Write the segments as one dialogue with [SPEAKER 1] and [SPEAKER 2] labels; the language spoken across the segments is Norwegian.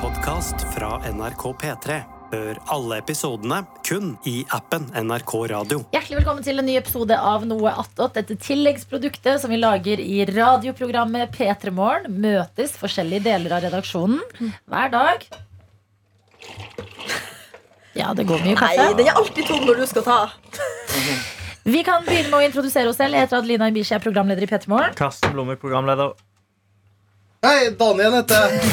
[SPEAKER 1] podkast fra NRK P3. Hør alle episodene kun i appen NRK Radio.
[SPEAKER 2] Hjertelig velkommen til en ny episode av Noe attåt. Dette tilleggsproduktet som vi lager i radioprogrammet P3 Morgen. Møtes forskjellige deler av redaksjonen hver dag. Ja, det går mye
[SPEAKER 3] Nei,
[SPEAKER 2] kaffe.
[SPEAKER 3] den er alltid tom når du skal ta.
[SPEAKER 2] Vi kan begynne med å introdusere oss selv. Jeg heter Adelina Ibishi, jeg er programleder i P3 Morgen.
[SPEAKER 4] Karsten Blomvik, programleder.
[SPEAKER 5] Hei, Daniel heter jeg.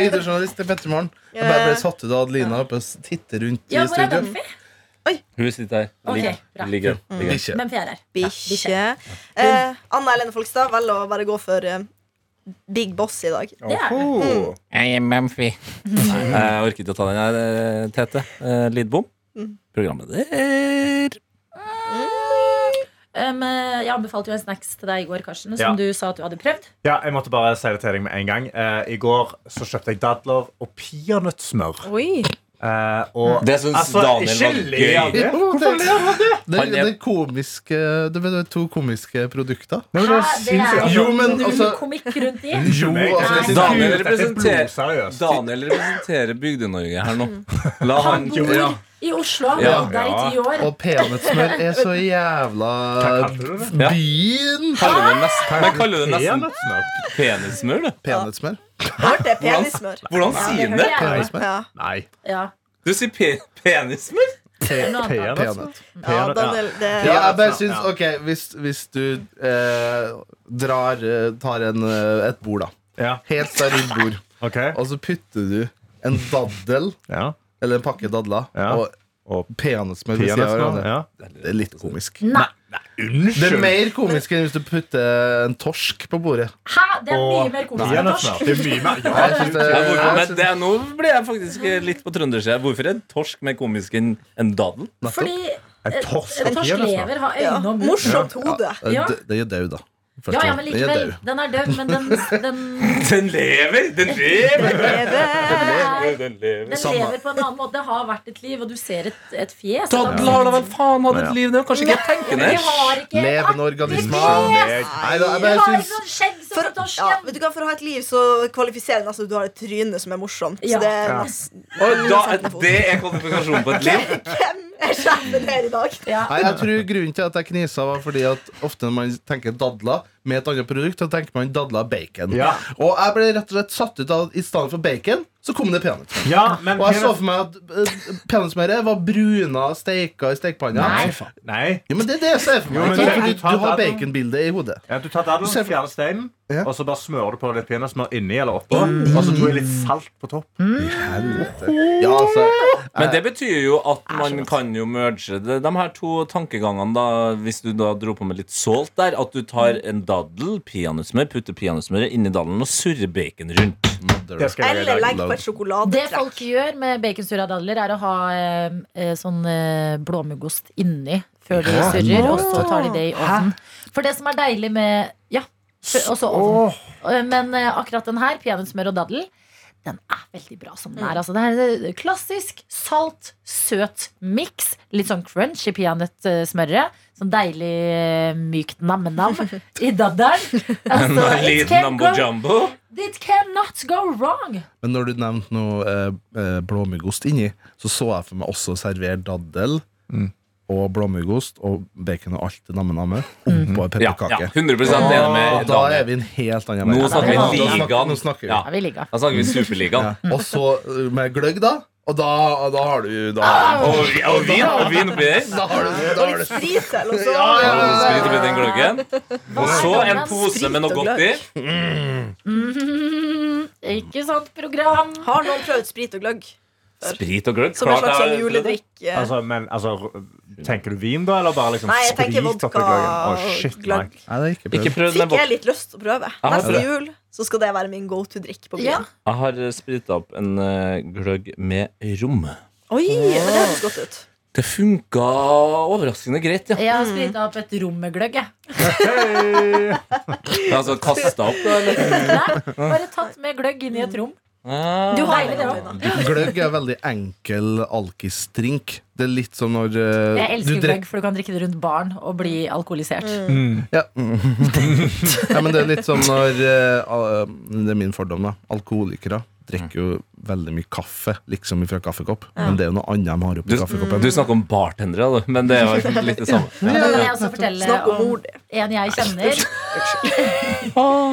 [SPEAKER 5] Videojournalist i Pettermorgen. Jeg bare ble satt ut av at Lina oppe og titter rundt
[SPEAKER 2] Ja,
[SPEAKER 5] i
[SPEAKER 2] hvor er
[SPEAKER 5] studio.
[SPEAKER 2] Mumphy?
[SPEAKER 6] Hun sitter her.
[SPEAKER 2] Ok,
[SPEAKER 6] Ligger.
[SPEAKER 2] bra. Mm.
[SPEAKER 6] Ligger. Ligger.
[SPEAKER 5] Ikke.
[SPEAKER 2] Mumphy er her.
[SPEAKER 3] Bikkje. Eh, Anna Helene Folkstad velger å bare gå for eh, Big Boss i dag.
[SPEAKER 2] Det er det.
[SPEAKER 6] Jeg er Mumphy. Jeg orker ikke å ta den her, eh, Tete eh, Lidbom.
[SPEAKER 2] Mm.
[SPEAKER 6] Programleder.
[SPEAKER 2] Um, jeg anbefalte jo en snacks til deg i går, Karsten, som
[SPEAKER 4] Ja.
[SPEAKER 2] du sa at du hadde prøvd.
[SPEAKER 4] Ja, jeg måtte bare si det til deg med en gang. Eh, I går så kjøpte jeg dadler og peanøttsmør.
[SPEAKER 3] Oi.
[SPEAKER 4] Eh, og
[SPEAKER 6] Det syns
[SPEAKER 4] Altså,
[SPEAKER 6] Daniel
[SPEAKER 4] ikke
[SPEAKER 6] var
[SPEAKER 4] le av
[SPEAKER 6] gøy.
[SPEAKER 4] det.
[SPEAKER 5] Jo, det, det,
[SPEAKER 6] Han er-
[SPEAKER 5] det er komiske Det er to komiske produkter.
[SPEAKER 4] Nei, men det var
[SPEAKER 2] Hæ? Det
[SPEAKER 4] sinnssykt.
[SPEAKER 2] er
[SPEAKER 4] Altså,
[SPEAKER 5] Jo, men
[SPEAKER 2] null
[SPEAKER 5] altså-
[SPEAKER 2] komikk rundt i.
[SPEAKER 5] Jo, altså, det er sin-
[SPEAKER 6] Daniel
[SPEAKER 4] Dette er
[SPEAKER 6] representerer-
[SPEAKER 4] blodseriøst.
[SPEAKER 6] Daniel representerer Bygde-Norge her nå. La han
[SPEAKER 2] Mm. Han bor
[SPEAKER 6] Ja.
[SPEAKER 2] i Oslo, han
[SPEAKER 6] Ja.
[SPEAKER 2] har bodd der i ti år.
[SPEAKER 5] Og peanøttsmør er så jævla
[SPEAKER 4] Hva kaller du det?
[SPEAKER 6] Ja.
[SPEAKER 5] Byen!
[SPEAKER 6] Kaller det nesten, men kaller det nesten
[SPEAKER 4] Peanøttsmør?
[SPEAKER 6] penissmør, du.
[SPEAKER 5] Peanøttsmør.
[SPEAKER 3] Hørte jeg penismør?
[SPEAKER 6] Hvordan sier han det?
[SPEAKER 2] Ja,
[SPEAKER 5] Peanøttsmør.
[SPEAKER 3] Ja.
[SPEAKER 4] Nei.
[SPEAKER 2] ja.
[SPEAKER 6] Du sier pe penissmør?
[SPEAKER 2] Det er noe annet.
[SPEAKER 5] Peanøtt.
[SPEAKER 3] ja,
[SPEAKER 4] Peanøtt, ja.
[SPEAKER 3] Daniel, det
[SPEAKER 5] Ja, jeg bare
[SPEAKER 4] Ja.
[SPEAKER 5] syns OK, hvis, hvis du eh, drar eh, Tar en, eh, et bord, da.
[SPEAKER 4] Ja,
[SPEAKER 5] Helt sterilt bord.
[SPEAKER 4] OK.
[SPEAKER 5] Og så putter du en daddel,
[SPEAKER 4] Ja.
[SPEAKER 5] eller en pakke dadler,
[SPEAKER 4] Ja.
[SPEAKER 5] og
[SPEAKER 4] Og
[SPEAKER 5] peanøttsmør ved siden av
[SPEAKER 4] Peanøttsmør.
[SPEAKER 5] hverandre.
[SPEAKER 4] Ja.
[SPEAKER 5] Det er litt komisk.
[SPEAKER 2] Nei.
[SPEAKER 5] Det er
[SPEAKER 4] Unnskyld.
[SPEAKER 5] mer komisk enn hvis du putter en torsk på bordet.
[SPEAKER 2] Hæ? Det er mye
[SPEAKER 4] Og-
[SPEAKER 2] mer komisk enn norsk.
[SPEAKER 4] Peanøttsmør. Det er mye mer ja.
[SPEAKER 5] Jeg synes det,
[SPEAKER 6] Ja, hvorfor-
[SPEAKER 5] jeg
[SPEAKER 6] Men
[SPEAKER 5] synes-
[SPEAKER 6] det, nå ble jeg faktisk litt på trøndersida. Hvorfor er torsk mer komisk enn en daddel?
[SPEAKER 2] Fordi
[SPEAKER 4] En torsk
[SPEAKER 2] en
[SPEAKER 4] og
[SPEAKER 2] torsk
[SPEAKER 4] peanøttsmør.
[SPEAKER 2] lever, har
[SPEAKER 3] Ja.
[SPEAKER 2] øyne og munn.
[SPEAKER 3] Morsomt hode.
[SPEAKER 2] Ja.
[SPEAKER 5] Det- det er jo død, da. Først
[SPEAKER 2] Ja,
[SPEAKER 5] og
[SPEAKER 2] ja,
[SPEAKER 5] fremst.
[SPEAKER 2] men
[SPEAKER 5] Den er
[SPEAKER 2] likevel.
[SPEAKER 5] død.
[SPEAKER 2] Den er død, men den, den,
[SPEAKER 6] Den lever! Den lever!
[SPEAKER 3] Leve.
[SPEAKER 2] er,
[SPEAKER 6] Den lever.
[SPEAKER 2] den lever på en annen måte. Det har vært et liv, og du ser et, et fjes. Altså,
[SPEAKER 6] Dadler har da vel faen hatt et liv, det er kanskje ikke tenkende.
[SPEAKER 2] Vi har ikke
[SPEAKER 5] Levende organismer. Nei, da, jeg
[SPEAKER 2] Vi
[SPEAKER 5] bare
[SPEAKER 2] har
[SPEAKER 5] syns
[SPEAKER 2] ikke noe sånn skjegg som
[SPEAKER 3] For,
[SPEAKER 2] på
[SPEAKER 3] ja,
[SPEAKER 2] torsken.
[SPEAKER 3] vet du hva, for å ha et liv så kvalifiserer det nesten at du har et tryne som er morsomt.
[SPEAKER 2] Ja.
[SPEAKER 3] Så det er
[SPEAKER 4] Ja.
[SPEAKER 3] nesten
[SPEAKER 6] Og da, det er kvalifikasjonen på et liv.
[SPEAKER 3] Hvem er sjefen her i dag?
[SPEAKER 2] Ja.
[SPEAKER 5] Nei, jeg tror grunnen til at jeg knisa, var fordi at ofte når man tenker dadler med et annet produkt, så tenker man dadler bacon.
[SPEAKER 4] Ja.
[SPEAKER 5] Og jeg ble rett og slett satt ut av at i stedet for bacon, så kom det peanøttsmør.
[SPEAKER 4] Ja, men
[SPEAKER 5] Og jeg så
[SPEAKER 4] peanøttsmør
[SPEAKER 5] for meg at eh, peanøttsmøret var bruna og steika i stekepanna.
[SPEAKER 2] Nei.
[SPEAKER 4] Nei.
[SPEAKER 5] Jo, men det er det jeg ser for
[SPEAKER 4] Jo,
[SPEAKER 5] meg.
[SPEAKER 4] men
[SPEAKER 5] Ikke
[SPEAKER 4] det-
[SPEAKER 5] fordi
[SPEAKER 4] du
[SPEAKER 5] du
[SPEAKER 4] tar
[SPEAKER 5] har
[SPEAKER 4] dadlen.
[SPEAKER 5] baconbildet i hodet.
[SPEAKER 4] Ja, du tar dadelen,
[SPEAKER 5] Ser-
[SPEAKER 4] fjerner steinen,
[SPEAKER 5] Ja.
[SPEAKER 4] og så bare smører du på litt peanøttsmør inni eller oppå. Og så tror jeg litt salt på topp.
[SPEAKER 5] Helvete. Ja, altså
[SPEAKER 6] Men det betyr jo at man kan jo merge det. de her to tankegangene, da, hvis du da dro på med litt salt der, at du tar en daddel, peanøttsmør, putter peanøttsmøret inni daddelen og surrer bacon rundt.
[SPEAKER 4] Det skal jeg gjøre i
[SPEAKER 3] Eller
[SPEAKER 4] dag.
[SPEAKER 3] legg på et
[SPEAKER 2] Det
[SPEAKER 3] sjokoladetrekk.
[SPEAKER 2] folk gjør med baconsura dadler, er å ha eh, eh, sånn eh, blåmuggost inni før de surrer, og så tar de det i ovnen. For det som er deilig med Ja, for- også ovnen. Eh, Men eh, akkurat den her, peanøttsmør og daddel, den er veldig bra som den er. Altså, det er eh, klassisk salt, søt miks. Litt sånn crunch i peanøttsmøret. Sånn deilig eh, mykt nam-nam i daddelen. Altså,
[SPEAKER 6] En
[SPEAKER 2] it,
[SPEAKER 6] liten
[SPEAKER 2] can
[SPEAKER 6] numbo
[SPEAKER 2] go,
[SPEAKER 6] jumbo.
[SPEAKER 2] it cannot go wrong.
[SPEAKER 5] Men når du nevnte noe eh, eh, blåmuggost inni, så så jeg for meg også servere daddel
[SPEAKER 4] Mm.
[SPEAKER 5] og blåmuggost og bacon og alt det namme-namme oppå en
[SPEAKER 6] Ja,
[SPEAKER 5] pepperkake.
[SPEAKER 6] ja, 100 enig med
[SPEAKER 5] Og da er
[SPEAKER 6] Daniel.
[SPEAKER 5] vi i en helt annen
[SPEAKER 6] Nå
[SPEAKER 5] verden.
[SPEAKER 6] snakker
[SPEAKER 2] vi
[SPEAKER 5] Da snakker-
[SPEAKER 6] ligaen.
[SPEAKER 5] Nå snakker vi.
[SPEAKER 6] Ja.
[SPEAKER 2] Ja, vi ligger.
[SPEAKER 6] Da snakker vi Superligaen.
[SPEAKER 5] Ja. Og så eh, med gløgg, da. Og da, og da har du da,
[SPEAKER 6] Og, vi- og vin og vin oppi der.
[SPEAKER 5] da har du, da
[SPEAKER 3] Og
[SPEAKER 5] har
[SPEAKER 3] litt
[SPEAKER 5] du.
[SPEAKER 3] sprit til. Og så
[SPEAKER 5] Ja, ja,
[SPEAKER 6] Og sprit oppi den gløggen. Og så en pose med noe godt i.
[SPEAKER 2] Mhm, Ikke sant program?
[SPEAKER 3] Har noen prøvd sprit og gløgg?
[SPEAKER 6] Sprit og gløgg.
[SPEAKER 3] Som en
[SPEAKER 6] klart
[SPEAKER 3] slags
[SPEAKER 6] jeg-
[SPEAKER 3] sånn juledrikk? eh.
[SPEAKER 4] Altså, men, altså, tenker du vin, da? Eller bare liksom
[SPEAKER 3] Nei, jeg tenker
[SPEAKER 4] sprit
[SPEAKER 3] vodka
[SPEAKER 4] oppi gløggen? Å,
[SPEAKER 3] og
[SPEAKER 4] shit,
[SPEAKER 3] gløgg.
[SPEAKER 4] nei.
[SPEAKER 5] Nei, det er ikke
[SPEAKER 6] Ikke
[SPEAKER 5] prøvd.
[SPEAKER 6] prøv den
[SPEAKER 3] Fikk jeg
[SPEAKER 6] vodka.
[SPEAKER 3] litt lyst til å prøve.
[SPEAKER 6] har
[SPEAKER 3] Neste
[SPEAKER 6] det.
[SPEAKER 3] jul så skal det være min go to-drikk på
[SPEAKER 2] Ja.
[SPEAKER 3] byen.
[SPEAKER 6] Jeg har sprita opp en eh, gløgg med rom.
[SPEAKER 3] Oi, men det høres godt ut.
[SPEAKER 6] Det funka overraskende greit, ja.
[SPEAKER 2] Jeg har sprita opp et rom med gløgg. jeg.
[SPEAKER 4] Hei!
[SPEAKER 6] Altså kasta opp, da, eller?
[SPEAKER 2] Nei, Bare tatt med gløgg inn i et rom.
[SPEAKER 6] Ah.
[SPEAKER 2] Du har
[SPEAKER 3] Deilig,
[SPEAKER 2] det også.
[SPEAKER 3] det, da.
[SPEAKER 5] Gløgg er veldig enkel alkisdrink. Det er litt som når eh,
[SPEAKER 2] Jeg
[SPEAKER 5] du
[SPEAKER 2] elsker
[SPEAKER 5] drek-
[SPEAKER 2] gløgg, for du kan drikke det rundt barn og bli alkoholisert.
[SPEAKER 5] Ja. eh, ja, men det er litt som når eh, al- Det er min fordom, da. Alkoholikere drikker jo veldig mye kaffe, liksom fra kaffekopp. Men det er jo noe annet de har
[SPEAKER 6] Du,
[SPEAKER 5] oppi kaffekoppen.
[SPEAKER 6] du snakker om bartendere, du, men det er jo egentlig litt det samme.
[SPEAKER 2] Da kan jeg også fortelle
[SPEAKER 3] Snakk om
[SPEAKER 2] om
[SPEAKER 3] mor di.
[SPEAKER 2] en jeg kjenner.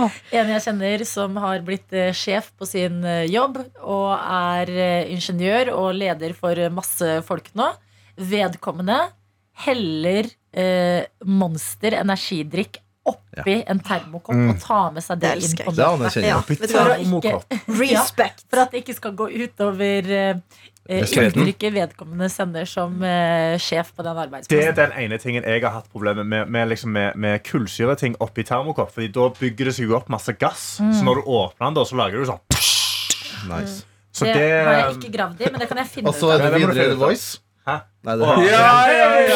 [SPEAKER 2] en jeg kjenner som har blitt eh, sjef på sin eh, jobb og er eh, ingeniør og leder for eh, masse folk nå. Vedkommende heller eh, Monster energidrikk oppi en termokopp
[SPEAKER 4] Mm.
[SPEAKER 2] og tar med seg det
[SPEAKER 3] Det
[SPEAKER 2] inn
[SPEAKER 3] elsker
[SPEAKER 2] på
[SPEAKER 5] Det aner
[SPEAKER 2] møtet.
[SPEAKER 5] jeg
[SPEAKER 3] Ja,
[SPEAKER 5] kjenner.
[SPEAKER 3] vet du
[SPEAKER 2] For
[SPEAKER 3] hva?
[SPEAKER 2] å ikke-
[SPEAKER 3] Respect.
[SPEAKER 2] For at det ikke skal gå utover eh, eh,
[SPEAKER 5] Respekten.
[SPEAKER 2] inntrykket vedkommende sender som eh, sjef på den
[SPEAKER 4] Det er
[SPEAKER 2] arbeidsplassen.
[SPEAKER 4] den ene tingen jeg har hatt problemer med Med, liksom med, med kullsyreting oppi termokopp. Fordi da bygger det seg jo opp masse gass.
[SPEAKER 2] Mm.
[SPEAKER 4] Så når du åpner den, da, så lager du sånn.
[SPEAKER 5] Nice.
[SPEAKER 4] Så
[SPEAKER 2] det,
[SPEAKER 4] det, Altså,
[SPEAKER 2] har jeg ikke gravd i, men det kan jeg finne
[SPEAKER 5] Og så
[SPEAKER 2] ut av.
[SPEAKER 5] er det
[SPEAKER 4] Nei, det må du
[SPEAKER 5] videre
[SPEAKER 4] finne ut
[SPEAKER 5] The
[SPEAKER 4] av.
[SPEAKER 5] Voice.
[SPEAKER 4] Hæ?
[SPEAKER 5] Nei, det
[SPEAKER 4] Åh.
[SPEAKER 6] ja, ja, ja,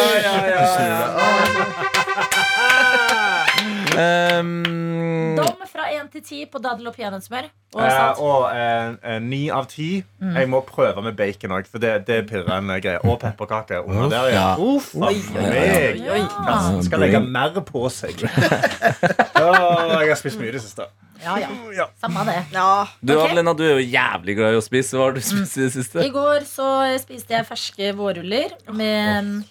[SPEAKER 6] Ehm, Mm.
[SPEAKER 2] Dom fra 1 til 10 på dadel og peanøttsmør. Og
[SPEAKER 4] Eh,
[SPEAKER 2] salt.
[SPEAKER 4] og eh, eh, ni av ti.
[SPEAKER 2] Mm.
[SPEAKER 4] Jeg må prøve med bacon òg, for det, det pirrer en greie. Og pepperkaker. under der, ja.
[SPEAKER 6] Ja.
[SPEAKER 4] Uff,
[SPEAKER 6] Oi,
[SPEAKER 4] ja.
[SPEAKER 6] oi,
[SPEAKER 4] meg.
[SPEAKER 2] oi.
[SPEAKER 4] Karsten Skal legge mer på seg. Åh, jeg har spist mye i det siste.
[SPEAKER 2] Ja, ja.
[SPEAKER 4] Ja.
[SPEAKER 2] Samme det.
[SPEAKER 3] Ja.
[SPEAKER 6] Du
[SPEAKER 2] Ok. Mm.
[SPEAKER 6] Adelina, du er jo jævlig glad i å spise. Hva har du spist i det siste?
[SPEAKER 2] I går så spiste jeg ferske vårruller med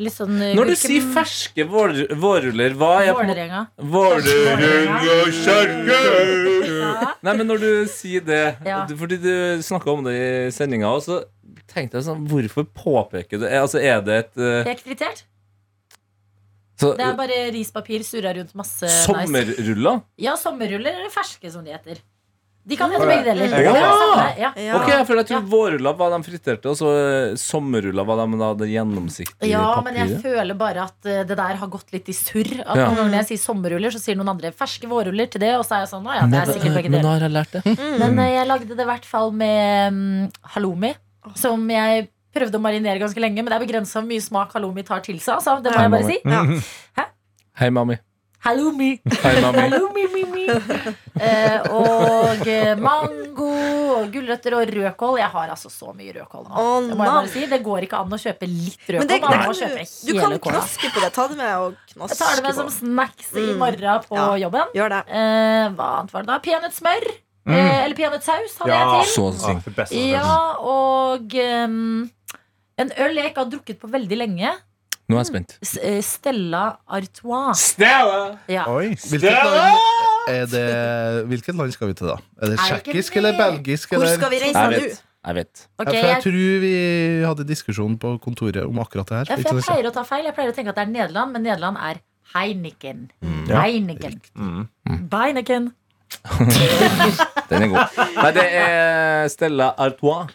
[SPEAKER 2] litt sånn eh,
[SPEAKER 6] Når du
[SPEAKER 2] gurke-
[SPEAKER 6] sier ferske vår, vårruller, hva er på en måte-
[SPEAKER 2] Vålerenga.
[SPEAKER 6] Vårruller og kjerke
[SPEAKER 2] Ja.
[SPEAKER 6] Nei, men når du sier det
[SPEAKER 2] Ja.
[SPEAKER 6] Fordi du snakka om det i sendinga, og så tenkte jeg sånn Hvorfor påpeker du Altså, er det et eh,
[SPEAKER 2] Det er ikke irritert.
[SPEAKER 6] så,
[SPEAKER 2] Det er bare rispapir surra rundt masse nice.
[SPEAKER 6] Sommerruller?
[SPEAKER 2] Ja, sommerruller eller ferske, som de heter. De kan hete
[SPEAKER 4] Mm.
[SPEAKER 2] begge deler.
[SPEAKER 6] Ja.
[SPEAKER 2] Det er samme, ja.
[SPEAKER 3] Ja.
[SPEAKER 6] Ok, for jeg tror
[SPEAKER 2] Ja.
[SPEAKER 6] vårruller var de friterte, og så eh, sommerruller var de da det gjennomsiktige
[SPEAKER 2] Ja, men jeg
[SPEAKER 6] papiret.
[SPEAKER 2] føler bare at eh, det der har gått litt i surr. At
[SPEAKER 6] Ja.
[SPEAKER 2] noen ganger Når jeg sier sommerruller, så sier noen andre ferske vårruller til det. Og så er jeg sånn, «Å ja, det er sikkert begge
[SPEAKER 6] Men nå
[SPEAKER 2] deler.
[SPEAKER 6] har jeg lært det.
[SPEAKER 2] Men eh, jeg lagde det i hvert fall med mm, halloumi, som jeg prøvde å marinere ganske lenge. Men det er begrensa hvor mye smak halloumi tar til seg. Altså. Det må
[SPEAKER 6] Hei,
[SPEAKER 2] jeg
[SPEAKER 6] mamma.
[SPEAKER 2] bare si.
[SPEAKER 6] Hei, mami.
[SPEAKER 2] Halloumi.
[SPEAKER 6] Hei, mami.
[SPEAKER 2] Halloumi, mi, mi. Eh, og eh, mango og gulrøtter og rødkål. Jeg har altså så mye rødkål nå.
[SPEAKER 3] Å,
[SPEAKER 2] Det må jeg
[SPEAKER 3] nei.
[SPEAKER 2] bare si. Det går ikke an å kjøpe litt
[SPEAKER 3] Men det,
[SPEAKER 2] rødkål.
[SPEAKER 3] det
[SPEAKER 2] Man må
[SPEAKER 3] kan
[SPEAKER 2] kjøpe
[SPEAKER 3] du, du kan
[SPEAKER 2] hele kåla.
[SPEAKER 3] knaske på det. Ta det med og knaske
[SPEAKER 2] Jeg tar det med som
[SPEAKER 3] på.
[SPEAKER 2] snacks i
[SPEAKER 3] Mm.
[SPEAKER 2] morgen på
[SPEAKER 3] Ja.
[SPEAKER 2] jobben.
[SPEAKER 3] Gjør det.
[SPEAKER 2] Eh, hva annet var det da? Peanøttsmør. Eh, eller peanøttsaus hadde jeg til.
[SPEAKER 6] Så sykt.
[SPEAKER 4] Åh, det beste som
[SPEAKER 2] Ja,
[SPEAKER 4] finnes.
[SPEAKER 2] og ehm, en øl jeg ikke har drukket på veldig lenge.
[SPEAKER 6] Nå er jeg spent.
[SPEAKER 2] S- eh, Stella Artois.
[SPEAKER 6] Stella!
[SPEAKER 2] Ja.
[SPEAKER 4] Oi.
[SPEAKER 5] Hvilket land, er det, hvilket land skal vi til, da?
[SPEAKER 2] Er
[SPEAKER 5] Er det
[SPEAKER 2] det ikke
[SPEAKER 5] tsjekkisk
[SPEAKER 2] vi-
[SPEAKER 5] eller belgisk?
[SPEAKER 3] Hvor
[SPEAKER 5] Eller?
[SPEAKER 3] skal vi reise
[SPEAKER 2] Liksom
[SPEAKER 6] Jeg
[SPEAKER 3] nå?
[SPEAKER 6] vet. Jeg vet.
[SPEAKER 2] Ok,
[SPEAKER 5] Ja, for jeg
[SPEAKER 2] jeg,
[SPEAKER 5] tror vi hadde diskusjon på kontoret om akkurat det
[SPEAKER 2] ja,
[SPEAKER 5] her.
[SPEAKER 2] for jeg pleier å ta feil. Jeg pleier å tenke at det er Nederland, men Nederland er Heineken.
[SPEAKER 5] Mm.
[SPEAKER 4] Ja.
[SPEAKER 2] Heineken. Beineken.
[SPEAKER 6] Den er god. Nei, det er Stella Artois.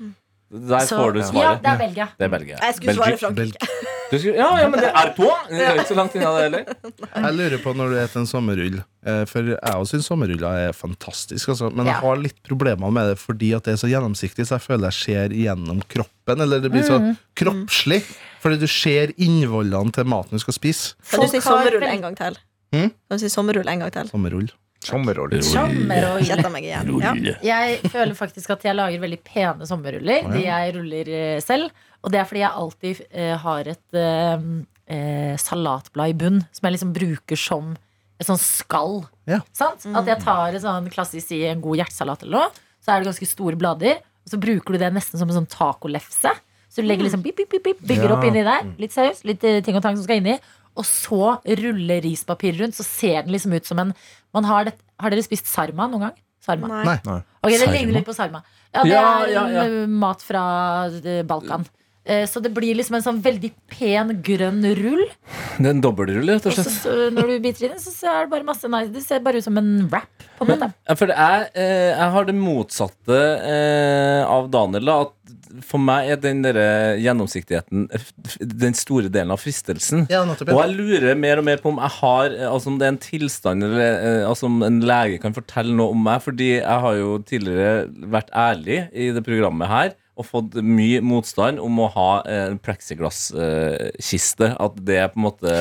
[SPEAKER 6] Der
[SPEAKER 2] Så-
[SPEAKER 6] får du
[SPEAKER 2] Ja,
[SPEAKER 6] svaret.
[SPEAKER 2] det er Belgia.
[SPEAKER 6] Det er Belgia.
[SPEAKER 3] Jeg skulle svare Frankrike.
[SPEAKER 6] Du skulle, ja, ja, men det er Artois! Det er ikke så langt unna, det heller.
[SPEAKER 5] Jeg lurer på når du spiser en sommerrull. eh, For jeg også syns sommerruller er fantastisk, altså. men jeg
[SPEAKER 2] Ja.
[SPEAKER 5] har litt problemer med det fordi at det er så gjennomsiktig, så jeg føler jeg ser gjennom kroppen. Eller det blir så
[SPEAKER 2] Mm.
[SPEAKER 5] kroppslig. Fordi du ser innvollene til maten du skal spise.
[SPEAKER 3] Kan du si
[SPEAKER 2] Folk har
[SPEAKER 3] sommerrull
[SPEAKER 2] vel-
[SPEAKER 3] en gang til?
[SPEAKER 5] Mm?
[SPEAKER 3] Kan du si sommerrull en gang til?
[SPEAKER 5] Sommerrull.
[SPEAKER 4] Sommerrull.
[SPEAKER 2] Sommerøl.
[SPEAKER 3] Gjetta meg igjen. Ja.
[SPEAKER 2] Jeg føler faktisk at jeg lager veldig pene sommerruller. De jeg ruller eh, selv. Og det er fordi jeg alltid eh, har et eh, eh, salatblad i bunn som jeg liksom bruker som et sånn skall.
[SPEAKER 5] Ja.
[SPEAKER 2] Sant? At jeg tar et sånn klassisk i en god hjertesalat eller noe, så er det ganske store blader. Og så bruker du det nesten som en sånn tacolefse. Så du legger liksom bip, bip, bip, bip, bygger
[SPEAKER 4] Ja.
[SPEAKER 2] opp inni der. Litt saus, litt eh, ting og tang som skal inni. Og så ruller rispapir rundt, så ser den liksom ut som en man har, det, har dere spist sarma noen gang? Sarma.
[SPEAKER 3] Nei.
[SPEAKER 5] Nei.
[SPEAKER 2] Ok, Det
[SPEAKER 6] Sarma?
[SPEAKER 2] ligner litt på sarma. Ja, det
[SPEAKER 6] Ja,
[SPEAKER 2] er
[SPEAKER 6] ja, ja.
[SPEAKER 2] en, uh, mat fra uh, Balkan. Eh, Så det blir liksom en sånn veldig pen grønn rull.
[SPEAKER 6] Det er en dobbeltrull, rett
[SPEAKER 2] Og
[SPEAKER 6] og
[SPEAKER 2] så,
[SPEAKER 6] slett.
[SPEAKER 2] så når du biter i den, så så er det bare masse nice. Det ser bare ut som en wrap. På en måte.
[SPEAKER 6] Ja, for jeg, eh, jeg har det motsatte eh, av Daniel. Da, at for meg er den derre gjennomsiktigheten eh, f- den store delen av fristelsen.
[SPEAKER 5] Ja, nettopp,
[SPEAKER 6] Og
[SPEAKER 5] ja.
[SPEAKER 6] jeg lurer mer og mer på om jeg har eh, Altså om det er en tilstand eller eh, altså om en lege kan fortelle noe om meg. Fordi jeg har jo tidligere vært ærlig i det programmet her og fått mye motstand om å ha eh, en plexiglasskiste. At det er på en måte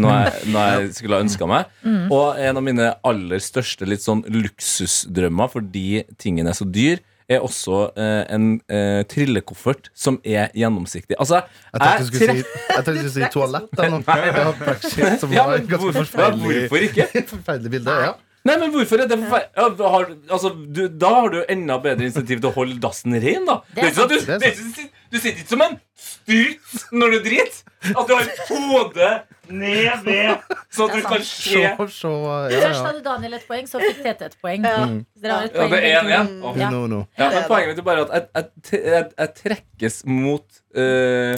[SPEAKER 6] noe jeg, noe jeg skulle ha ønska meg.
[SPEAKER 5] Mm.
[SPEAKER 6] Og en av mine aller største litt sånn luksusdrømmer, fordi tingen er så dyr, er også eh, en eh, trillekoffert som er gjennomsiktig. Altså,
[SPEAKER 5] Jeg tenkte du
[SPEAKER 6] tre-
[SPEAKER 5] skulle si, jeg tenkte du skulle si toalett. Jeg nå. Jeg har praksis som
[SPEAKER 6] ja,
[SPEAKER 5] var
[SPEAKER 6] men
[SPEAKER 5] et ganske
[SPEAKER 6] hvorfor, ja,
[SPEAKER 5] forferdelig,
[SPEAKER 6] hvorfor ikke?
[SPEAKER 5] forferdelig bilde. Ja.
[SPEAKER 6] Nei, men hvorfor er det forferdelig? Ja, har, altså, du, da har du jo enda bedre insentiv til å holde dassen ren, da.
[SPEAKER 2] Det er
[SPEAKER 6] Det er ikke sånn at
[SPEAKER 5] sant.
[SPEAKER 6] du, det er ikke, sånn- du sitter ikke som en struts når du driter. At du har hodet ned ved, sånn at
[SPEAKER 2] Det
[SPEAKER 6] du
[SPEAKER 2] er
[SPEAKER 6] kan
[SPEAKER 5] Se,
[SPEAKER 6] se ja,
[SPEAKER 5] se ja,
[SPEAKER 2] Først
[SPEAKER 5] ja.
[SPEAKER 2] hadde Daniel et poeng, så fikk Tete et poeng. Mm.
[SPEAKER 3] Ja.
[SPEAKER 2] Dere har et poeng.
[SPEAKER 6] det er en igjen.
[SPEAKER 3] Mm.
[SPEAKER 6] Åh.
[SPEAKER 5] Who
[SPEAKER 2] Ja.
[SPEAKER 5] know, no.
[SPEAKER 6] Ja,
[SPEAKER 3] Det
[SPEAKER 6] men
[SPEAKER 3] er
[SPEAKER 6] Poenget mitt er bare at jeg, jeg, jeg, jeg trekkes mot eh,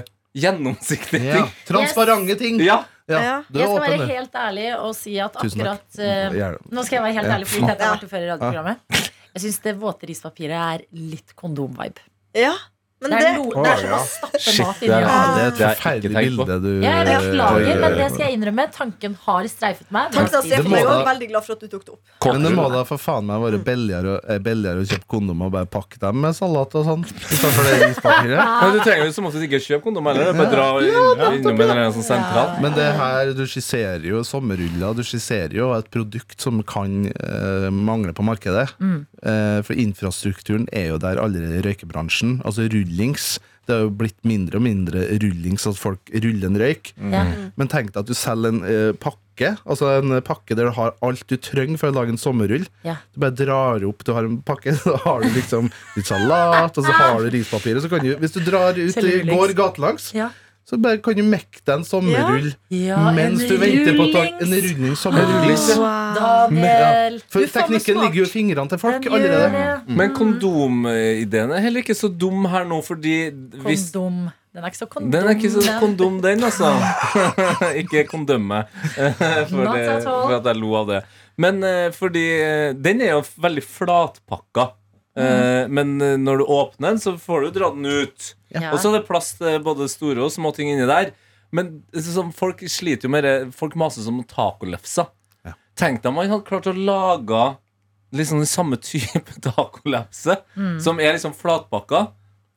[SPEAKER 6] gjennomsiktige
[SPEAKER 5] Ja.
[SPEAKER 6] ting.
[SPEAKER 5] Transparente ting.
[SPEAKER 6] Ja.
[SPEAKER 5] Ja,
[SPEAKER 3] Ja.
[SPEAKER 5] du
[SPEAKER 2] Jeg
[SPEAKER 5] er
[SPEAKER 2] skal
[SPEAKER 5] åpen,
[SPEAKER 2] være
[SPEAKER 5] du.
[SPEAKER 2] helt ærlig og si at
[SPEAKER 5] Tusen takk.
[SPEAKER 2] akkurat eh,
[SPEAKER 5] Gjerne.
[SPEAKER 2] Nå skal jeg være helt
[SPEAKER 5] Ja.
[SPEAKER 2] ærlig, fordi Tete har vært det før i
[SPEAKER 5] Ja.
[SPEAKER 2] radioprogrammet. Jeg syns det våte rispapiret er litt kondomvibe.
[SPEAKER 3] Ja, men
[SPEAKER 2] Det
[SPEAKER 3] det
[SPEAKER 2] er, no, det er som å
[SPEAKER 4] Å, ja.
[SPEAKER 2] stappe
[SPEAKER 6] Shit,
[SPEAKER 2] mat
[SPEAKER 6] det
[SPEAKER 2] inni
[SPEAKER 6] er-
[SPEAKER 2] en
[SPEAKER 5] Ja, det er et
[SPEAKER 6] Det har jeg ikke
[SPEAKER 5] forferdelig
[SPEAKER 6] tenkt på.
[SPEAKER 5] bilde du
[SPEAKER 2] Jeg beklager, men det
[SPEAKER 5] Eh,
[SPEAKER 2] skal jeg innrømme. Tanken har streifet meg.
[SPEAKER 3] Takk til
[SPEAKER 5] Det
[SPEAKER 3] Stefan,
[SPEAKER 5] må
[SPEAKER 3] jeg er også
[SPEAKER 5] da-
[SPEAKER 3] veldig glad for at du tok det opp.
[SPEAKER 5] Men det må da for faen meg være billigere, eh, billigere å kjøpe kondomer og bare pakke dem med salat og sånn. Istedenfor det ispapiret.
[SPEAKER 6] Men du trenger jo som oftest ikke kjøpe kondom heller. det er Bare dra inn, innom en eller annen sånn sentral.
[SPEAKER 5] Men det her, du skisserer jo sommerruller, du skisserer jo et produkt som kan eh, mangle på markedet.
[SPEAKER 2] Mm.
[SPEAKER 5] Eh, for infrastrukturen er jo der allerede i røykebransjen. Altså rullings. Det er jo blitt mindre og mindre rullings at folk ruller en røyk.
[SPEAKER 2] Ja.
[SPEAKER 5] Men tenk deg at du selger en eh, pakke, altså en eh, pakke der du har alt du trenger for å lage en sommerrull.
[SPEAKER 2] Ja.
[SPEAKER 5] Du bare drar opp, du har en pakke, så har du liksom litt salat, og så har du rispapiret. Så kan du, hvis du drar ut,
[SPEAKER 2] Selger rullings.
[SPEAKER 5] går gatelangs,
[SPEAKER 2] Ja.
[SPEAKER 5] så bare kan du mekke deg en sommerrull
[SPEAKER 2] Ja, en
[SPEAKER 5] mens du venter på å ta en
[SPEAKER 2] rullings.
[SPEAKER 5] rulling sommerrullings.
[SPEAKER 2] Daniel!
[SPEAKER 5] Ja, for
[SPEAKER 3] Du får med
[SPEAKER 5] teknikken
[SPEAKER 3] smak.
[SPEAKER 5] ligger jo i fingrene til folk
[SPEAKER 2] Den gjør
[SPEAKER 5] allerede.
[SPEAKER 2] det.
[SPEAKER 6] Men kondomideen er heller ikke så dum her nå, fordi hvis
[SPEAKER 2] Kondom. Den er ikke så kondom.
[SPEAKER 6] Den er ikke så
[SPEAKER 2] den.
[SPEAKER 6] kondom, den, altså. ikke kondømme. for,
[SPEAKER 2] Not
[SPEAKER 6] det,
[SPEAKER 2] at all.
[SPEAKER 6] for at jeg lo av det. Men eh, fordi eh, Den er jo veldig flatpakka. Eh,
[SPEAKER 2] Mm.
[SPEAKER 6] Men eh, når du åpner den, så får du dra den ut.
[SPEAKER 2] Ja.
[SPEAKER 6] Og så er det plass til både store og små ting inni der. Men så- sånn, folk sliter jo med det. Folk maser som om tacolefser. Tenk deg om man hadde klart å lage liksom den samme type tacolefse,
[SPEAKER 2] Mm.
[SPEAKER 6] som er liksom flatpakka,